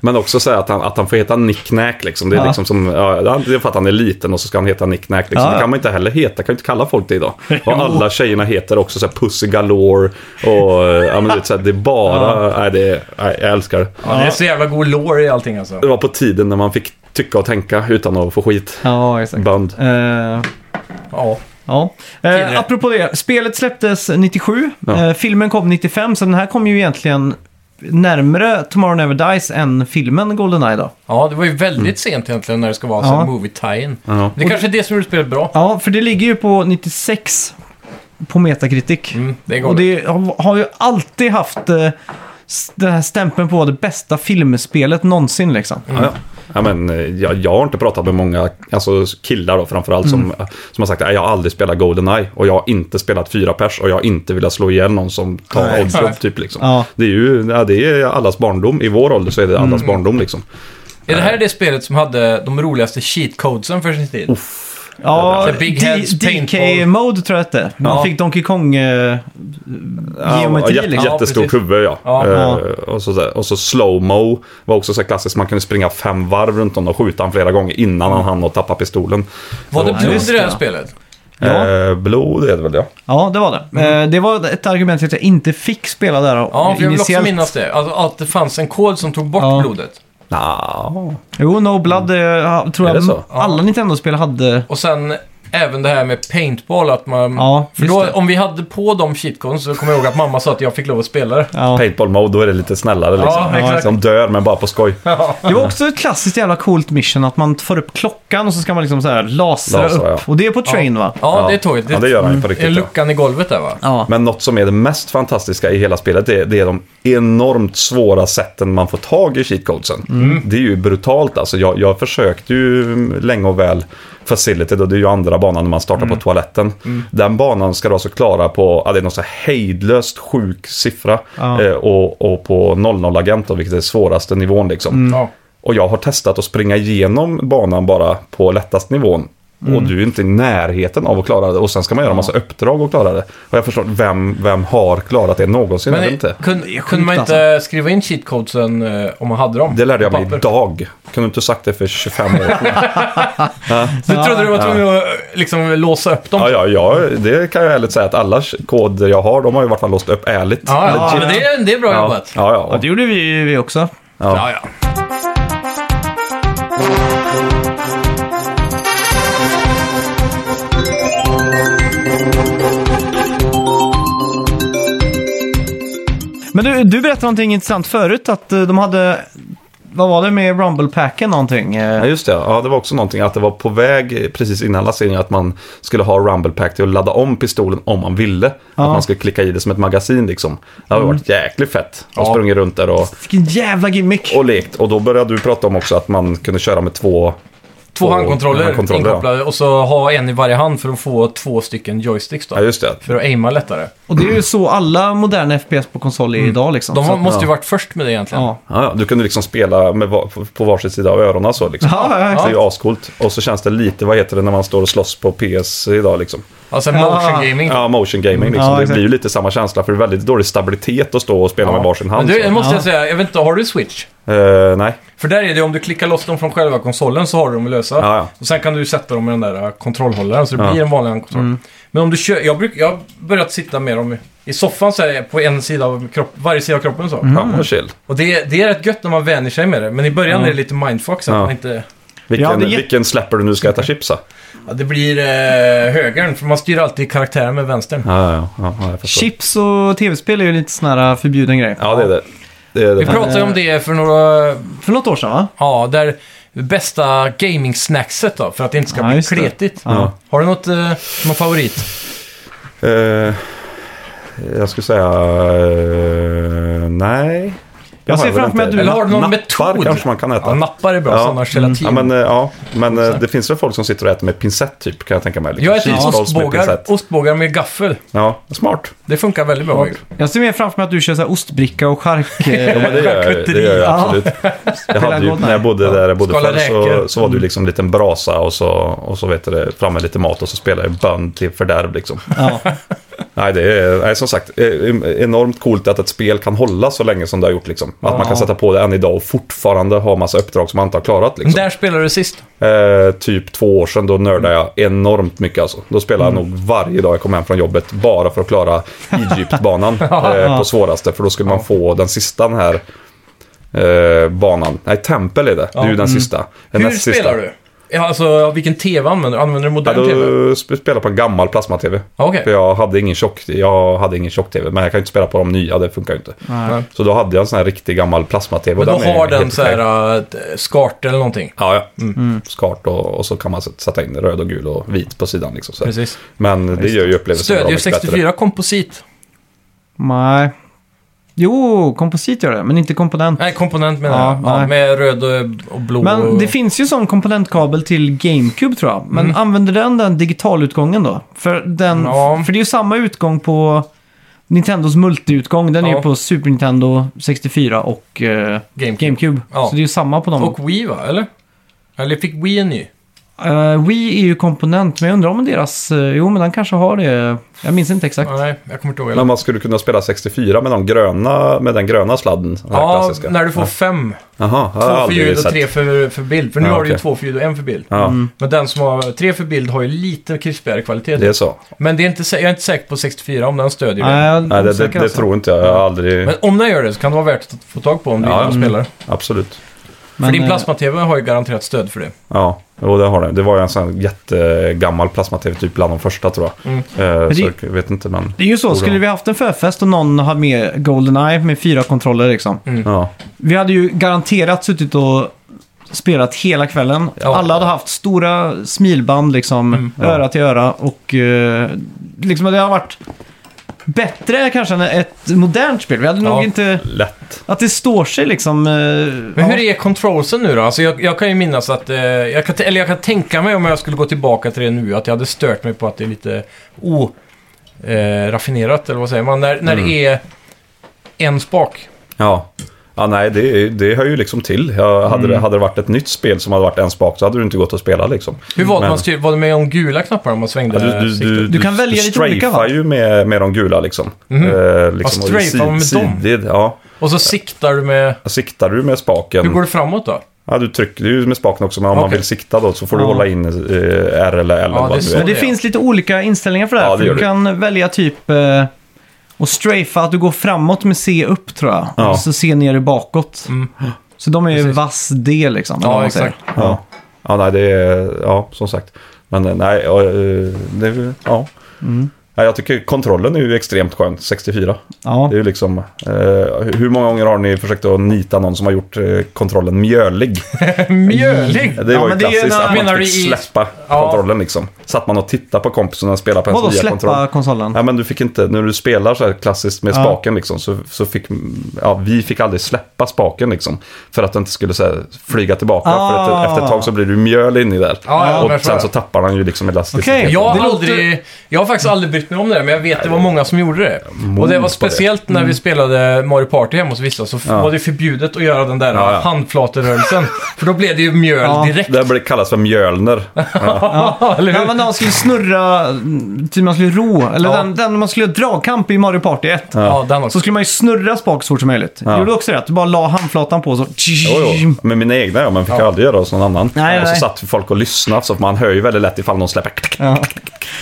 Men också säga att han, att han får heta Nicknack liksom. Det är Ja. liksom som, ja, det är för att han är liten och så ska han heta Nicknack liksom. Ja. Det kan man inte heller heta, kan ju inte kalla folk det idag. Och alla tjejerna heter också så här Pussy Galore och, eh, ja men du vet så här, det är bara, nej det är, nej, jag älskar det. Ja, det är så jävla god lore i allting alltså. Det var på tiden när man fick tycka och tänka utan att få skit. Ja, exakt. Band. Eh, Ja. Ja. Tidigare. Eh, apropå det, spelet släpptes 97, Ja. eh, filmen kom 95, så den här kom ju egentligen närmre Tomorrow Never Dies än filmen Goldeneye då. ja, det var ju väldigt sent egentligen när det ska vara Ja. ja. movie tie-in. Ja. Det är kanske är det som gjorde spelet bra. Ja, för det ligger ju på 96 på Metacritic. Mm, det är Och galet. det har- har ju alltid haft eh, s- den här stämpeln på det bästa filmspelet någonsin liksom. Ja, ja, men eh, jag, jag har inte pratat med många alltså, killar då, framförallt som, som har sagt att jag har aldrig spelat Goldeneye och jag har inte spelat fyra pers och jag har inte velat slå ihjäl någon som tar Nej. oddjobb typ. Liksom. Ja. Det är ju ja, det är allas barndom. I vår ålder så är det allas barndom liksom. Är det här det spelet som hade de roligaste cheat codesen för sin tid? Ja, The Big Heads Paintball. DK-mode tror jag att det Man Ja. fick Donkey Kong eh, geometri ja, jätte, liksom. jättestort precis. huvud ja. Ja. Eh, Ja. och, så, där. och så slow-mo var också så här klassiskt. Man kunde springa fem varv runt honom och skjuta honom flera gånger innan han hann och tappa pistolen. Var det Så- blod i det här Ja. spelet? Ja. Eh, blod är det väl ja. Ja, det var det. Mm. Eh, Det var ett argument att jag inte fick spela där Ja, för jag vill också initiellt. minnas det. Alltså, att det fanns en kod som tog bort Ja. blodet. Nja, Jo, No Blood eh, tror Mm. Är jag det så? alla Nintendo-spel hade. Och sen även det här med paintball, att man... Ja, för just då, det. om vi hade på de cheatcoden så kommer jag ihåg att mamma sa att jag fick lov att spela det. Ja. paintball mode, då är det lite snällare liksom. Ja, exakt. De dör men bara på skoj. Det var också ett klassiskt jävla coolt mission att man tar upp klockan och så ska man liksom så här lasra Lasra, upp. ja. Och det är på train va? Ja, det är tåget. Mm. Ja, det gör han ju på Det är riktigt. Ja. luckan i golvet där va? Ja. Men något som är det mest fantastiska i hela spelet, det är, det är de enormt svåra sätten man får tag i cheatcodesen. Det är ju brutalt alltså. Jag, jag försökte ju länge och väl Facility, då det är ju andra banan när man startar på toaletten. Den banan ska du alltså klara på, ja, det är någon så här hejdlöst sjuk siffra. Ja. Eh, och, och på 00-agent, då, vilket är svåraste nivån liksom. Ja. Och jag har testat att springa igenom banan bara på lättast nivån. Och du är inte i närheten av att klara det. Och sen ska man göra en massa uppdrag och klara det. Och jag förstår, vem, vem har klarat det någonsin? Men eller inte. inte. Kun, kunde man inte alltså. skriva in cheatcodesen eh, om man hade dem? Det lärde jag på mig papper? idag. Kunde inte sagt det för 25 år sedan. Du trodde du var tvungen att eh, liksom, låsa upp dem? Ja, ja, ja, det kan jag ärligt säga att alla koder jag har, de har ju i vart fall låst upp ärligt. Ja, ja, Legit. men det, är- det är bra ja, jobbat. ja, Ja, ja. det gjorde vi, vi också. Ja, ja. ja. Men du, du berättade någonting intressant förut att eh, de hade... Vad var det med Rumble-packen någonting? Eh, Ja, just det. Ja, det var också någonting att det var på väg precis innan lanseringen att man skulle ha Rumble Pack till att ladda om pistolen om man ville. Att man skulle klicka i det som ett magasin liksom. Det Mm. hade varit jäkligt fett. Man Ja. sprungit runt där och, Vilken jävla gimmick! och lekt. Och då började du prata om också att man kunde köra med två... Två Och- handkontroller, handkontroller, ja. inkopplade och så ha en i varje hand för att få två stycken joysticks då. Ja, just det. För att aima lättare. Och det är ju så alla moderna FPS på konsol Mm. är idag liksom. De så, har- att- måste ju varit först med det egentligen. ja. Ja, ja, du kunde liksom spela med, va- på- på varsin sida av öronen så liksom. Ja, ja, Det är exakt. ju ascoolt. Och så känns det lite, vad heter det när man står och slåss på PS idag liksom? Alltså Ja. motion gaming. Ja, motion gaming liksom. Mm. Ja, det exakt. blir ju lite samma känsla för det är väldigt dålig stabilitet att stå och spela med varsin hand. Men du, så. det måste Ja. jag säga, jag vet inte, har du switch? Eh, nej. För där är det om du klickar loss dem från själva konsolen så har du dem att lösa. Ja, ja. Och sen kan du sätta dem i den där eh, kontrollhållaren så det Ja. Mm. blir en vanlig handkontroll. Men om du kör, jag, bruk, jag har börjat sitta med dem i- i soffan så här, på en sida av kropp, varje sida av kroppen så. Mm. Ja, vad chill. Och det, det är rätt gött när man vänjer sig med det, men i början Ja. är det lite mindfuck så att Ja. man inte... Vilken, Ja, det är jätte- vilken släpper du nu ska äta chips? Ja, Ja, det blir eh, högern, för man styr alltid karaktären med vänstern. ja, ja, ja, jag förstår. Chips och tv-spel är ju lite sån här eh, förbjuden grej. Ja, det är det. det, är det. Vi pratade ju om det för några... För något år sedan va? Ja, där bästa gaming-snackset då, för att det inte ska Ja, bli just det. kletigt. Ja. Har du något, eh, någon favorit? Eh, jag skulle säga... eh, nej. Det Jag har ser väl framför mig inte. att du Eller har du någon Nappar metod? kanske man kan äta. Ja, nappar är bra, Ja. alltså, sådana gelatin. Ja, men, eh, ja, men eh, det finns väl folk som sitter och äter med pincett typ, kan jag tänka mig. Liksom. jag äter Cheeseball som är ostbågar, pincett. ostbågar med gaffel. Ja, smart. Det funkar väldigt bra. ju. Jag ser mer framför mig att du kör så här ostbricka och *laughs* chark. eh, Ja, men det gör jag ju. Det gör jag absolut. Jag hade ju, när jag bodde där jag bodde Skala förr räkor. Mm. så, så var det ju liksom en liten brasa och så, och så vet du det, fram med lite mat och så spelade jag bön till fördärv liksom. ja. *laughs* Nej, det är nej, som sagt eh, enormt coolt att ett spel kan hålla så länge som det har gjort liksom. Att man kan sätta på det än idag och fortfarande ha massa uppdrag som man inte har klarat liksom. Där spelade du sist. Eh, typ två år sedan då nördade jag enormt mycket alltså. Då spelade Mm. jag nog varje dag jag kom hem från jobbet bara för att klara *laughs* Egyptbanan eh, på svåraste. För då skulle man få den sista den här eh, banan. Nej, tempel är det. Det är ju den sista. Den Mm. Hur näst sista. spelar du? Ja, alltså, vilken TV använder du? Använder du Ja, modern då TV? sp- spelade jag på en gammal plasma-tv. Ja, Okej. För jag hade ingen tjock, jag hade ingen tjock-tv, men jag kan ju inte spela på de nya, det funkar ju inte. Nej. Så då hade jag en sån här riktig gammal plasma-tv. Men och då är har den helt så okej. här Mm. äh, skart eller någonting. Ja, ja. Skart och, och så kan man sätt- sätta in röd och gul och vit på sidan. Liksom, så. här. Precis. Men det gör ju upplevelsen bra Stödjer mycket bättre. 64 komposit. Nej. Jo, komposit gör det, men inte komponent. Nej, komponent menar Ja, jag. Ja, nej. med röd och, och blå. Men och... det finns ju sån komponentkabel till GameCube tror jag. Mm. Men använder den den digitalutgången då? För, den, Ja. för det är ju samma utgång på Nintendos multiutgång. Den är Ja. ju på Super Nintendo 64 och eh, GameCube. GameCube. Ja. Så det är ju samma på dem. Och Wii va, eller? Eller fick Wii en ny? Eh, Wii är ju komponent, men jag undrar om deras... eh, jo, men den kanske har det. Jag minns inte exakt. Nej, jag kommer inte ihåg. Men Eller. man skulle kunna spela 64 med, de gröna, med den gröna sladden. Den här Ja, klassiska. när du får fem. Jaha, Två jag har för aldrig ljud och sett. tre Mm. för, för bild. För nu Ja, har du ju okej. två för ljud och en för bild. Ja, Men den som har tre för bild har ju lite krispigare kvalitet. det är så. Men det är inte, sä- jag är inte säker på 64 om den stödjer det. jag är Nej, det, det, osäker det alltså. tror inte jag. Jag har aldrig... Men om den gör det så kan det vara värt att få tag på om du Ja, Mm. inte ja. spelar. Absolut. Men, för din eh, plasma-tv har ju garanterat stöd för det. Ja, jo, det har det. Det var ju en sån här jättegammal plasma-tv, typ bland de första tror jag. Mm. Eh, så det- jag vet inte, men... Det är ju så, skulle vi haft en förfest och någon har med GoldenEye med fyra kontroller liksom. Mm. Ja, Vi hade ju garanterat suttit och spelat hela kvällen. Ja. Alla hade haft stora smilband liksom, Mm. öra till öra och eh, liksom det har varit bättre kanske än ett modernt spel. Vi hade Ja. nog inte... lätt. Att det står sig liksom. eh, Men ja. hur är controlsen nu då? Alltså jag, jag kan ju minnas att... Eh, jag kan, t- eller jag kan tänka mig om jag skulle gå tillbaka till det nu, att jag hade stört mig på att det är lite Mm. oraffinerat, eh, raffinerat, eller vad säger man? När, när det är en spak. Ja. Ja, nej, det, det hör ju liksom till. Jag, Mm. hade, det, hade det varit ett nytt spel som hade varit en spak så hade du inte gått att spela liksom. Hur var det Men- man styrde? Var det med om gula knappar om man svängde Ja, du, du, siktet? du, Du kan välja lite olika, va? strafar ju med, med de gula liksom. Eh, liksom Vad Mhm. strafar man med dem? Sidid, ja. Och så siktar du med... Siktar du med spaken? Hur går det framåt då? Ja, du trycker ju med spaken också, men om man Okej. vill sikta då så får Ja. du hålla in eh, R eller L. Ja, det eller är vad det så. nu Men är. det Ja. finns lite olika inställningar för det här. Ja, det för gör du det. kan välja typ eh, och strafa, att du går framåt med C upp tror jag. Ja. Mm. Och så C ner i bakåt. Så de är ju Precis. vass D liksom. eller Ja, vad man säger. exakt. ja. ja, nej, det är... Ja, som sagt. Men eh, nej, ja, eh, det är väl- Ja. Mm. Ja, jag tycker kontrollen är ju extremt skön, 64. Ja. Det är ju liksom, eh, hur många gånger har ni försökt att nita någon som har gjort eh, kontrollen mjölig? Mjölig! Det Ja, var ju men det är ju klassiskt, när- att menar man du fick i- släppa Ja. kontrollen liksom. Satt man och tittade på kompisen och spelade på Vadå ens nya släppa kontroll. konsolen? Ja, men du fick inte, när du spelar så här klassiskt med Ja. spaken liksom, så, så fick, ja, vi fick aldrig släppa spaken liksom. För att den inte skulle så här, flyga tillbaka. Ah. För att, efter ett tag så blir du mjöl in i där. Ja, ja, men jag och sen förstår. så tappar den ju liksom elasticiteten. Okej, Okay. Jag har, Det låter- aldrig, jag har faktiskt aldrig brytt mig om det där, men jag vet att det var många som gjorde det. Och det på var det. Mm. speciellt när vi spelade Mario Party hemma hos vissa, så f- Ja. var det förbjudet att göra den där Ja, ja. *laughs* handflaterörelsen. för då blev det ju mjöl Ja. direkt. Det här blir- kallas *laughs* för mjölner. Eller hur? Ja, men när man skulle snurra, mm, typ man skulle ro, eller Ja. den, den man skulle göra dragkamp i Mario Party 1. Ja, den också. Så skulle man ju snurra spak så fort som möjligt. Ja. Gjorde du också det? Att du bara la handflatan på så... Jo, jo. Men mina egna ja, men fick Ja. aldrig göra hos någon annan. Nej, och så nej. satt folk och lyssnade, så man hör ju väldigt lätt ifall någon släpper *laughs* Ja.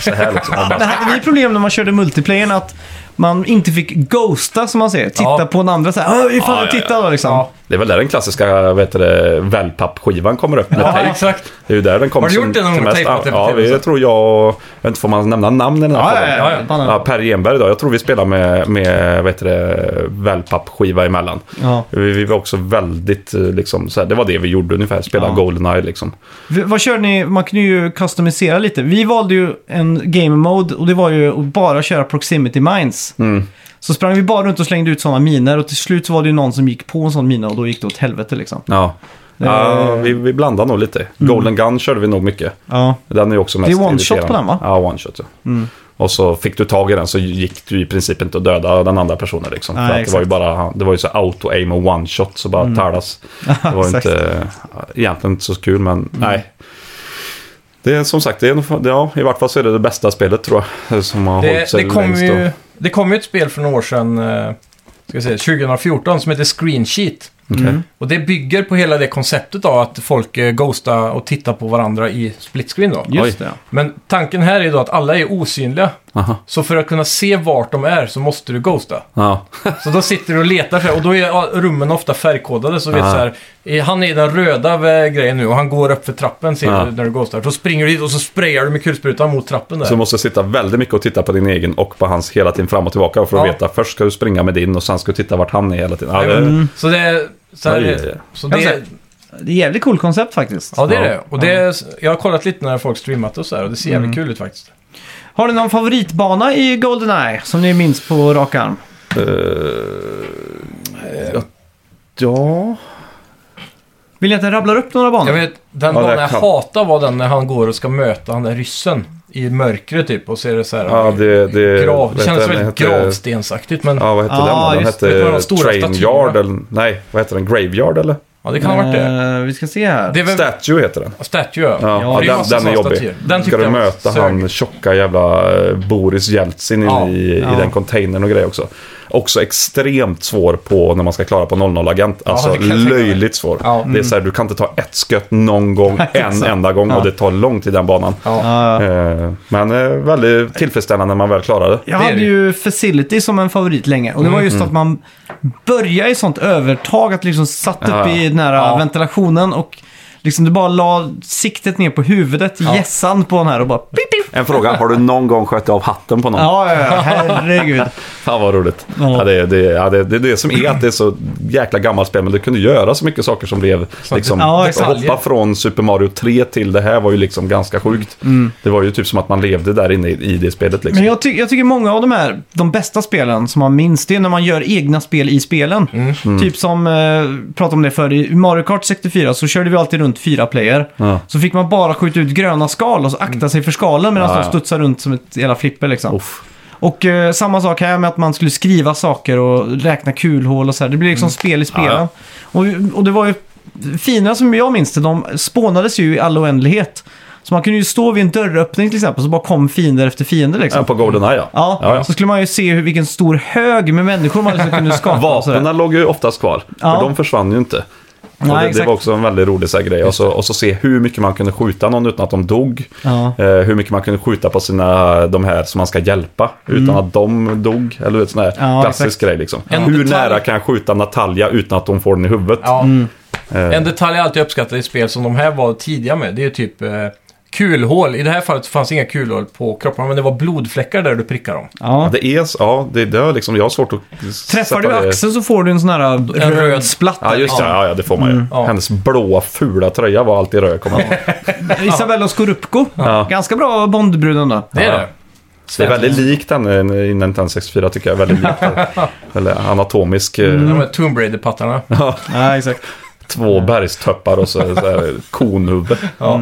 så här liksom. Man bara, Men hade ni problem när man körde multiplayern att man inte fick ghosta som man säger? Titta Ja. på den andra så här. "Åh, Ifall Ja, du ja, ja. tittar då liksom. Ja. Det är väl där den klassiska vet du, det, wellpapp-skivan kommer upp med Ja, tejp. exakt. Det är ju där den kommer Har du gjort som- det någon till gång? mest- Tejpat det på Ja, tv? vi, jag tror jag... Jag vet inte, får man nämna namn i den här podden? ja, ja. Fan, Ja, Per Genberg idag. Jag tror vi spelar med, med vet du, det, wellpapp-skiva emellan. Ja. Vi, vi var också väldigt eh, liksom, så här, det var det vi gjorde ungefär. Spela Ja. Goldeneye liksom. V- Vad körde ni? Man kunde ju customisera lite. Vi valde ju en game mode och det var ju att bara köra proximity mines. Mm, Så sprang vi bara runt och slängde ut sådana miner och till slut så var det ju någon som gick på en sån mina och då gick det åt helvete liksom. Ja. Ja, vi, vi blandade nog lite. Mm. Golden Gun körde vi nog mycket. Ja. Den är ju också mest Det är one shot irriterande. på den, va? Ja, one shot. Ja. Mm. Och så fick du tag i den så gick du i princip inte att döda den andra personen. Liksom. Nej, För att det exakt. var ju bara det var ju så auto-aim och one shot så bara Mm. talas. Det *laughs* var ju exakt. inte, egentligen inte så kul men Mm. nej. Det är som sagt, det är, nog- ja, i vart fall så är det det bästa spelet tror jag. Som har hållit Det, sig det, kom längst då. ju, det kom ju ett spel för några år sedan, eh, ska jag säga, 2014, som heter Screen Sheet. Okej. Mm. Och det bygger på hela det konceptet av att folk eh, ghostar och tittar på varandra i split screen då. Just Oj. det. Men tanken här är då att alla är osynliga. Aha. Så för att kunna se vart de är så måste du ghosta. Ja. Så då sitter du och letar för och då är ja, rummen ofta färgkodade. Så vet Ah. så här, eh, han är i den röda eh, grejen nu och han går upp för trappen ser Ah. du när du ghostar. Så springer du dit och så sprayar du med kulsprutan mot trappen där. Så du måste sitta väldigt mycket och titta på din egen och på hans hela tiden fram och tillbaka för att Ja. veta. Först ska du springa med din och sen ska du titta vart han är hela tiden. Ja, det, Mm. Så det är... Så här, Oj, är- oj, oj. så Jag det, ser. Det är jävligt coolt koncept faktiskt. ja, det är Ja. det. Och det är, jag har kollat lite när folk streamat och så här och det ser jävligt kul ut faktiskt. Har ni någon favoritbana i Goldeneye som ni minns på rak arm? ja. Vill ni att jag rabblar upp några banor? Jag vet, den Ja, det banan jag kan- hatar var den när han går och ska möta den där ryssen i mörkret typ och ser det så här... Ja, det, det, grav, vet det kändes jag, den väldigt heter- gravstensaktigt men... Ja, vad hette Ja, den då? Den just Ah, det, det var de hette stora Train statyerna. Yard eller... Nej, vad heter den? Graveyard eller? Ja, det kan ha varit det. Eh, vi ska se här. Det är väl... Statue heter den. Statue, ja. Ja, För det ja, massa den, den är såna jobbig. statyer. Den Ska tyckte du jag möta sög. han tjocka jävla eh, Boris Jeltsin inne Ja, i, ja. i den containern och grejer också. Också extremt svår på när man ska klara på 00-agent. Alltså det kan jag tänka mig. löjligt svår. Ja. mm. Det är så här, du kan inte ta ett skött *laughs* någon gång, en exakt. enda gång Ja. och det tar lång tid den banan. Ja. Ja, Eh, Men eh, väldigt tillfredsställande när man väl klarar det. jag det Mm. är hade det. ju Facility som en favorit länge. Och det var just att man började i sånt övertag. Att liksom satt upp Ja. i nära Ja. ventilationen och liksom du bara la siktet ner på huvudet, Ja. gässan på den här och bara pip, pip. En fråga, har du någon gång skjutit av hatten på någon? Ja, ja, ja, herregud. Fan vad roligt. Ja. Ja. det, det, ja, det, det är det som är att det är så jäkla gammalt spel, men du kunde göra så mycket saker som blev... Liksom, Ja, att detaljer. hoppa från Super Mario 3 till det här var ju liksom ganska sjukt. Det var ju typ som att man levde där inne i, i det spelet. Liksom. Mm. Men jag, ty- jag tycker många av de här, de bästa spelen som man minns, det är när man gör egna spel i spelen. Typ som, eh, pratade om det förr, i Mario Kart 64 så körde vi alltid runt fyra player. Ja. Så fick man bara skjuta ut gröna skal och så akta sig för skalen medan Ja, de ja. studsar runt som ett jävla flipper liksom. Uff. Och eh, samma sak här med att man skulle skriva saker och räkna kulhål och så här. Det blir liksom spel i spelen. Mm. Ja, Och, och det var ju fina som jag minns det, de spånades ju i all oändlighet. Så man kunde ju stå vid en dörröppning till exempel, så bara kom fiender efter fiender liksom. Ja, på Goldeneye ja. Ja, ja, ja. så skulle man ju se hur, vilken stor hög med människor man liksom kunde skapa. och sådär. Vapnen låg ju oftast kvar, Ja. för de försvann ju inte. Nej, Och det, det exakt. var också en väldigt rolig så här grej. Och så, och så se hur mycket man kunde skjuta någon utan att de dog. Ja. Eh, hur mycket man kunde skjuta på sina, de här som man ska hjälpa utan att de dog. Eller ett sån här Ja, klassisk exakt. grej liksom. En Hur detalj- nära kan jag skjuta Natalia utan att hon får den i huvudet? Ja. Eh. En detalj jag alltid uppskattar i spel som de här var tidiga med, det är typ eh, kulhål. I det här fallet fanns inga kulhål på kropparna, men det var blodfläckar där du prickar dem. Ja. Det är, så- ja, det, det har liksom, jag har svårt att Träffar du sätta det- axeln så får du en sån här eh, röd, röd- splatter. Ja, just det. Ja, ja, det får man ju. Ja. Hennes blåa fula tröja var alltid röd, kommer jag ihåg. *laughs* Isabella Scorupco. Ja. Ganska bra Bondbruden då. Det är Ja. det. Mm. Det är väldigt likt henne i Nintendo 64 tycker jag. Väldigt likt henne. Eller anatomisk. eh, De här Tomb Raider-pattarna. Ja, exakt. Två bergstöppar och så, så här, konhuvud. Mm. Ja.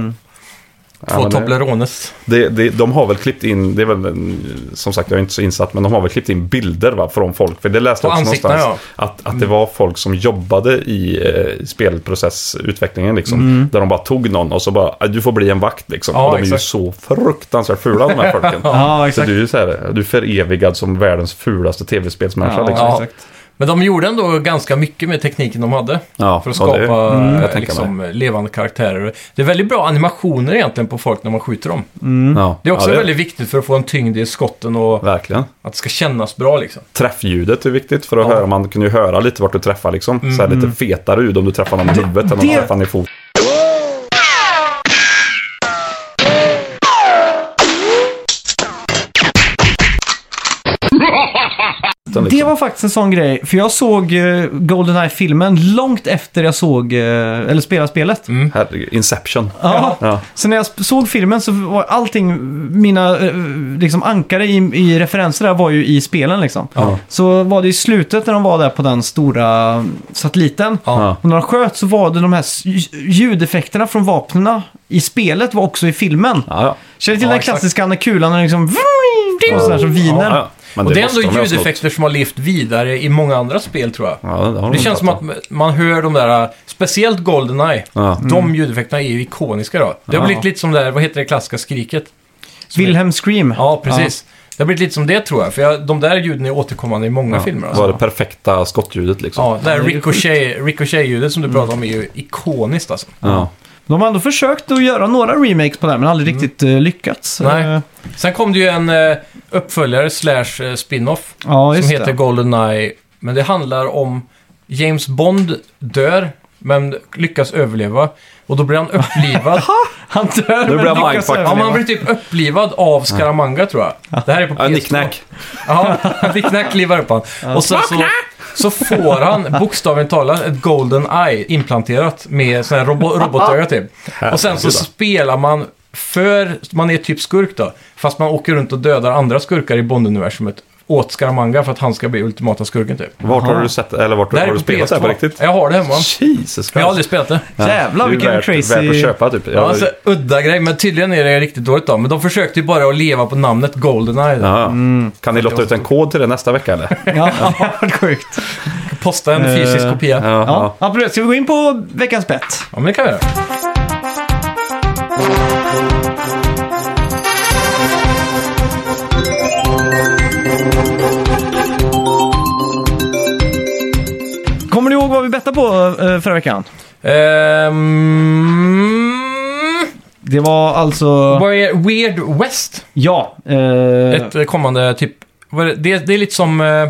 Två men det- Toblerones. Det, det, de har väl klippt in, det är väl en, som sagt jag är inte så insatt, men de har väl klippt in bilder va, från folk. För det På läste jag också ansiktena, någonstans. Att, att det var folk som jobbade i eh, spelprocessutvecklingen liksom. Där de bara tog någon och så bara, "Ah, du får bli en vakt liksom. Mm. Ja, och de är ju exakt. så fruktansvärt fula de *laughs* här folken. Ja, Så exakt. du är ju så här, du är förevigad som världens fulaste tv-spelsmänniska Ja, liksom. exakt. Men de gjorde ändå ganska mycket med tekniken de hade. Ja, För att och skapa det- eh, jag tänker liksom, levande karaktärer. Det är väldigt bra animationer egentligen på folk när man skjuter dem. Ja. Mm. Det är också ja, väldigt viktigt för att få en tyngd i skotten och Verkligen. att det ska kännas bra liksom. Träffljudet är viktigt för att Ja. Mm. höra, man kunde ju höra lite vart du träffar liksom. Så här lite fetare ljud om du träffar någon i huvudet än om du det- träffar någon i foten. Liksom. Det var faktiskt en sån grej, för jag såg eh, Goldeneye-filmen långt efter jag såg, eh, eller spelade spelet. Herregud, Inception. Ja. Ja. Så när jag sp- såg filmen så var allting, mina eh, liksom ankare i, i referenser där var ju i spelen liksom. Ja. Så var det i slutet när de var där på den stora mm, satelliten. Ja. Och när de sköt så var det de här s- ljudeffekterna från vapnena i spelet var också i filmen. Ja, ja. Känner du till Ja, den exakt. klassiska när kulan är liksom... Och sådär som viner. ja, ja. Men och det är måste ändå de ju ha snott. ljudeffekter som har levt vidare i många andra spel tror jag. Ja, det har de Det känns som fattat. att man hör de där, speciellt Goldeneye. Ja. De ljudeffekterna är ju ikoniska då. Det har blivit lite som det där, vad heter det klassiska skriket? Wilhelm Scream. Ja, precis. Det har blivit lite som det tror jag, för jag, de där ljuden är återkommande i många filmer. Det var Alltså. det perfekta skottljudet liksom. Ja, det där det är ricochet- ricochet-ljudet som du pratade om är ju ikoniskt alltså. Ja. De har ändå försökt att göra några remakes på det här men aldrig riktigt eh, lyckats. Mm. Nej. Eh, Sen kom det ju en eh, uppföljare slash eh, spin-off Ja, just som heter det. Goldeneye. Men det handlar om James Bond dör, men lyckas överleva. Och då blir han upplivad. Han dör Nu blir men alltså. lyckas jag mindfucked. ja, överleva. man blir typ upplivad av Scaramanga tror jag. Det här är på Ja, PS2. Nicknack. Ja, Nicknack klivar upp han. Och sen så, så får han bokstavligen talat ett golden eye implanterat med sån här robo- robotöga typ. Och sen så Herregud. spelar man för, man är typ skurk då, fast man åker runt och dödar andra skurkar i Bond-universumet åt Scaramanga för att han ska bli ultimata skurken typ. Vart har Aha. du sett, eller vart Det här har är du spelat det här på PS2. riktigt? Jag har det hemma. Jesus Jag har aldrig spelat det. Jävlar Det är ju vilken värt, crazy... Värt att köpa typ. Jag, Ja, alltså, udda grej, men tydligen är det riktigt dåligt då. Men de försökte ju bara att leva på namnet Goldeneye. ja, ja. Kan ni lotta ut en kod till det nästa vecka eller? Ja, *laughs* Ja, vad sjukt. Posta en fysisk Eh, kopia. Ja, Ja. Ja, precis. Ska vi gå in på veckans bett? men det kan vi göra. Kommer du ihåg vad vi bettade på eh, förra veckan? Ehm, Det var alltså... vad är Weird West? Ja. eh, Ett eh, kommande typ... vad är det- Det, det är lite som... eh,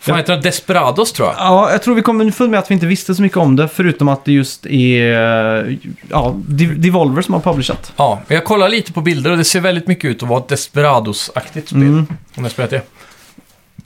Ja. Vad heter det? Desperados tror jag. Ja, jag tror vi kom underfund med att vi inte visste så mycket om det, förutom att det just är eh, ja, Dev- Devolver som har publishat. Ja, men jag kollar Mm. lite på bilder och det ser väldigt mycket ut att vara ett Desperados-aktigt spel. Om jag spelat det.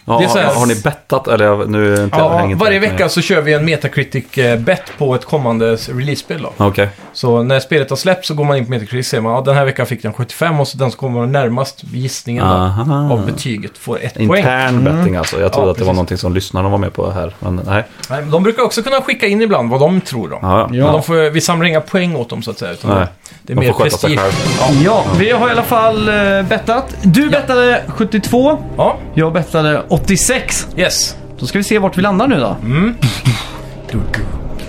Ja, Det är så här- har, har ni bettat? Eller jag- nu är det inte jag Ja, hänger inte varje med. vecka så kör vi en Metacritic-bet på ett kommande s- release-spel då. Okej. Så när spelet har släppts så går man in på Metacritic och ser man att ja, den här veckan fick den 75 och så den som kommer närmast gissningen då, Aha. av betyget får ett poäng. Mm. Intern betting alltså. Jag trodde att det var precis. någonting som lyssnarna var med på här. Men nej. Nej, men de brukar också kunna skicka in ibland vad de tror då. Ja, ja. Ja. Men de får, vi samlar inga poäng åt dem så att säga. Utan Nej. Det är De mer får sköta sig prestige. Ja. Ja, vi har i alla fall eh, bettat. Du bettade 72, ja, jag bettade 86. yes. Då ska vi se vart vi landar nu då.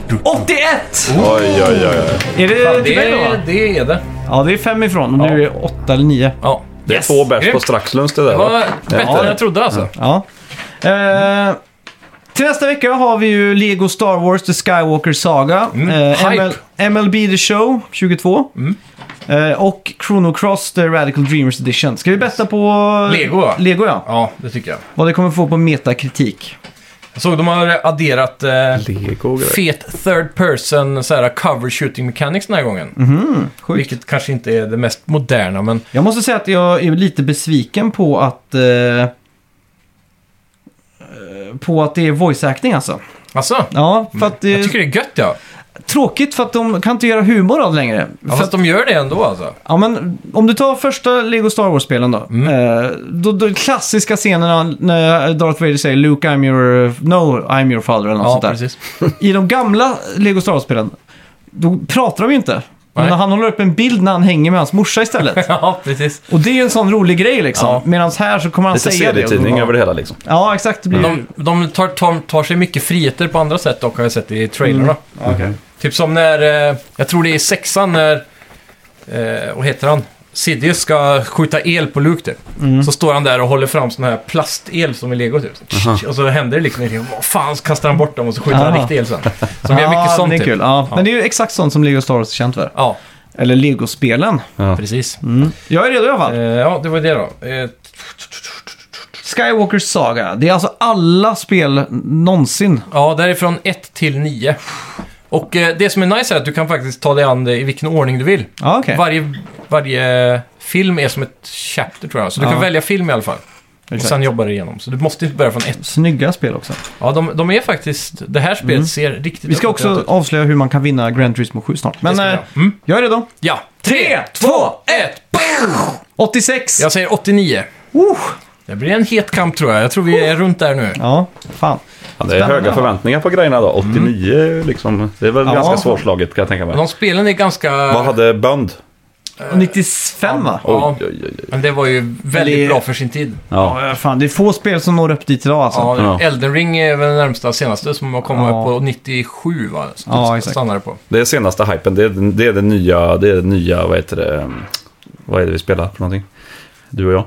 81! Oj, oj, oj. oj. Är det till Det, mig då? va? det är det. Ja, det är fem ifrån och du är åtta eller nio. Ja. Det är två bärs på Grymt. Straxlunds det där Det va? var bättre Ja. än jag trodde alltså. Ja. Eh, till nästa vecka har vi ju Lego Star Wars The Skywalker Saga. eh, hype. ML, MLB The Show 22. Eh, och Chrono Cross The Radical Dreamers Edition. Ska vi betta på... eh, Lego, va? Lego ja. Ja, det tycker jag. Vad det kommer få på metakritik. Jag såg de har adderat eh, Lego och grejer. fet third person så här, cover shooting mechanics den här gången. Mm-hmm. Sjukt. Vilket kanske inte är det mest moderna, men Jag måste säga att jag är lite besviken på att... Eh, eh, på att det är voice acting alltså. alltså. Ja, för att det är Jag tycker det är gött ja. tråkigt för att de kan inte göra humor av det längre. ja För fast de gör det ändå alltså. Ja, men om du tar första Lego Star Wars-spelen då. Mm. Eh, då, då klassiska scenerna när Darth Vader säger Luke, I'm your... No, I'm your father eller något Ja, sånt där. precis. *laughs* I de gamla Lego Star Wars-spelen, då pratar de ju inte. Men Nej. han håller upp en bild när han hänger med hans morsa *laughs* istället. ja, precis. och det är ju en sån rolig grej liksom. Ja. Medan här så kommer han Lite säga det. serietidning över det hela liksom. Ja, exakt. Det blir ju... De, de tar, tar, tar sig mycket friheter på andra sätt dock, har jag sett i trailerna. Typ som när, eh, jag tror det är i sexan när, eh, vad heter han? Sidious ska skjuta el på Luke typ. Mm. Så står han där och håller fram sån här plastel som i Lego typ. Och så händer det liksom ingenting. Vad fan, så kastar han bort dem och så skjuter han Aha. riktig el sen. Som är mycket Ja, sånt det är typ. kul. Ja. Ja. Men det är ju exakt sånt som Lego Star Wars är känt för. Ja, Eller Lego-spelen. precis. Mm. Jag är redo i alla fall. Eh, ja, det var det då. Eh, Skywalker Saga. Det är alltså alla spel någonsin. Ja, därifrån 1 till 9. Och eh, det som är nice är att du kan faktiskt ta dig an det i vilken ordning du vill. Ja, okej. Varje, varje film är som ett chapter tror jag. Så du Ja. kan välja film i alla fall. Och Exakt. sen jobba dig igenom. Så du måste inte börja från ett. Snygga spel också. Ja, de, de är faktiskt... Det här spelet ser riktigt Mm. Vi ska uppdaterat också ut. avslöja hur man kan vinna Grand Turismo 7 snart. Men ska vi eh, göra. Mm. jag är redo. Ja. 3, 2, 1! 86! Jag säger 89. Oh. Det blir en het kamp tror jag. Jag tror vi är runt där nu. Ja, fan. Ja, det är Spännande. höga förväntningar på grejerna då. Mm. 89 liksom. Det är väl Ja. ganska svårslaget kan jag tänka mig. Men de spelen är ganska... Vad hade Bond? 95 va? Ja. Oj, oj, oj, oj. Men det var ju väldigt Eller- bra för sin tid. Ja. Ja, fan, det är få spel som når upp dit idag alltså. Ja, Ja. Elden Ring är väl den närmsta senaste som har kommit Ja. på 97 va? Så Ja, det exakt. Stannade på. Det är senaste hypen. Det är, det är det nya, det är det nya, vad heter det? um, Vad är det vi spelar för någonting? Du och jag.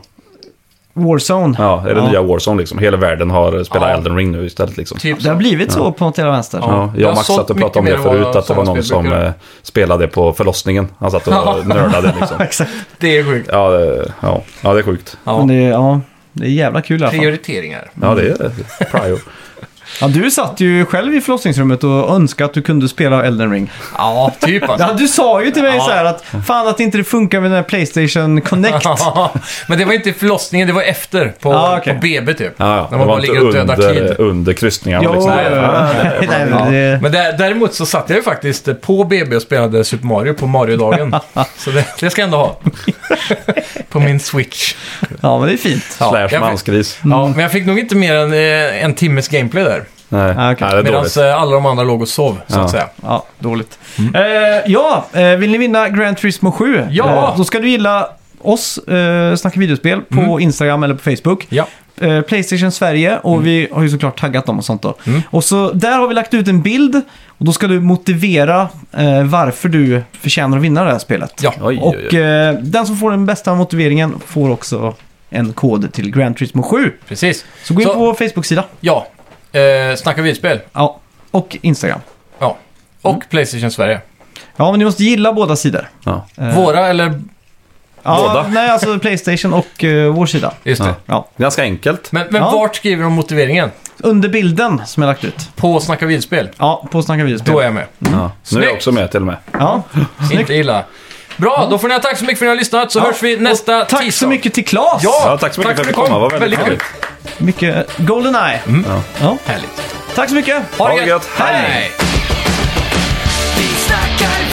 Warzone. Ja, det är det Ja. nya Warzone liksom. Hela världen har spelat Ja. Elden Ring nu istället liksom. Typ Det har så. blivit så på något jävla vänster. Ja. Ja, Det jag har och Max sålt satt och pratade mycket om det mer än vad förut, att det sådana var någon spel som brukar göra. eh, spelade på förlossningen. Han satt *laughs* och Ja. nördade *laughs* liksom. Exakt. Det är sjukt. Ja, det- ja, ja, det är sjukt. Ja. Men det, är- ja, det är jävla kul i alla fall. Prioriteringar. Ja, det är det. Prio. Ja, du satt ju själv i förlossningsrummet och önskade att du kunde spela Elden Ring. Ja, typ alltså. Ja, du sa ju till mig Ja. så här att fan att inte det funkar med den här Playstation *laughs* Connect. Men det var inte i förlossningen, det var efter. På, Ja, okej. på BB typ. Ja, ja. När man bara ligger och dödar tid. under, under kryssningarna Jo, liksom. ja, ja, ja. Nej, men det- Men där, däremot så satt jag ju faktiskt eh, på BB och spelade Super Mario på Mario-dagen. *laughs* så det, det ska jag ändå ha. på min Switch. Ja, men det är fint. Mm. Ja, Slash jag, fick, mansgris. ja, men jag fick nog inte mer än eh, en timmes gameplay där. Nej, Ah, okej. Nej, det är Medan dåligt. alla de andra låg och sov, så Ja. att säga. Ja, dåligt. Mm. Eh, ja, eh, vill ni vinna Grand Turismo 7? Ja! Eh, då ska du gilla oss, eh, Snacka videospel, på Mm. Instagram eller på Facebook. Ja. Eh, Playstation Sverige Mm. och vi har ju såklart taggat dem och sånt då. Och så där har vi lagt ut en bild och då ska du motivera eh, varför du förtjänar att vinna det här spelet. Ja. Oj, oj, oj. Och eh, den som får den bästa motiveringen får också en kod till Grand Turismo 7. Precis. Så gå in Så- på vår Facebook-sida Ja. Eh, snacka videospel. ja. och Instagram. Ja. Och Mm. Playstation Sverige. Ja, men ni måste gilla båda sidor. Ja. Eh, Våra eller... ja, Båda. Nej, *laughs* alltså Playstation och eh, vår sida. Just det. Ja. Ja. Ganska enkelt. Men, men Ja. vart skriver de motiveringen? Under bilden som jag lagt ut. På Snacka videospel? Ja, på Snacka videospel. Då är jag med. Ja. Nu är jag Mm. Snyggt. också med till och med. Ja. Inte illa. Bra, då får ni ha tack så mycket för att ni har lyssnat så hörs vi nästa Tack så tisdag. mycket till Claes! Ja, Ja, tack så mycket för att vi kom. Det var väldigt väldigt trevligt. kul. Mycket Goldeneye. Mm. Ja. Ja. Härligt. Tack så mycket! Ha det gött. Hej! Vi snackar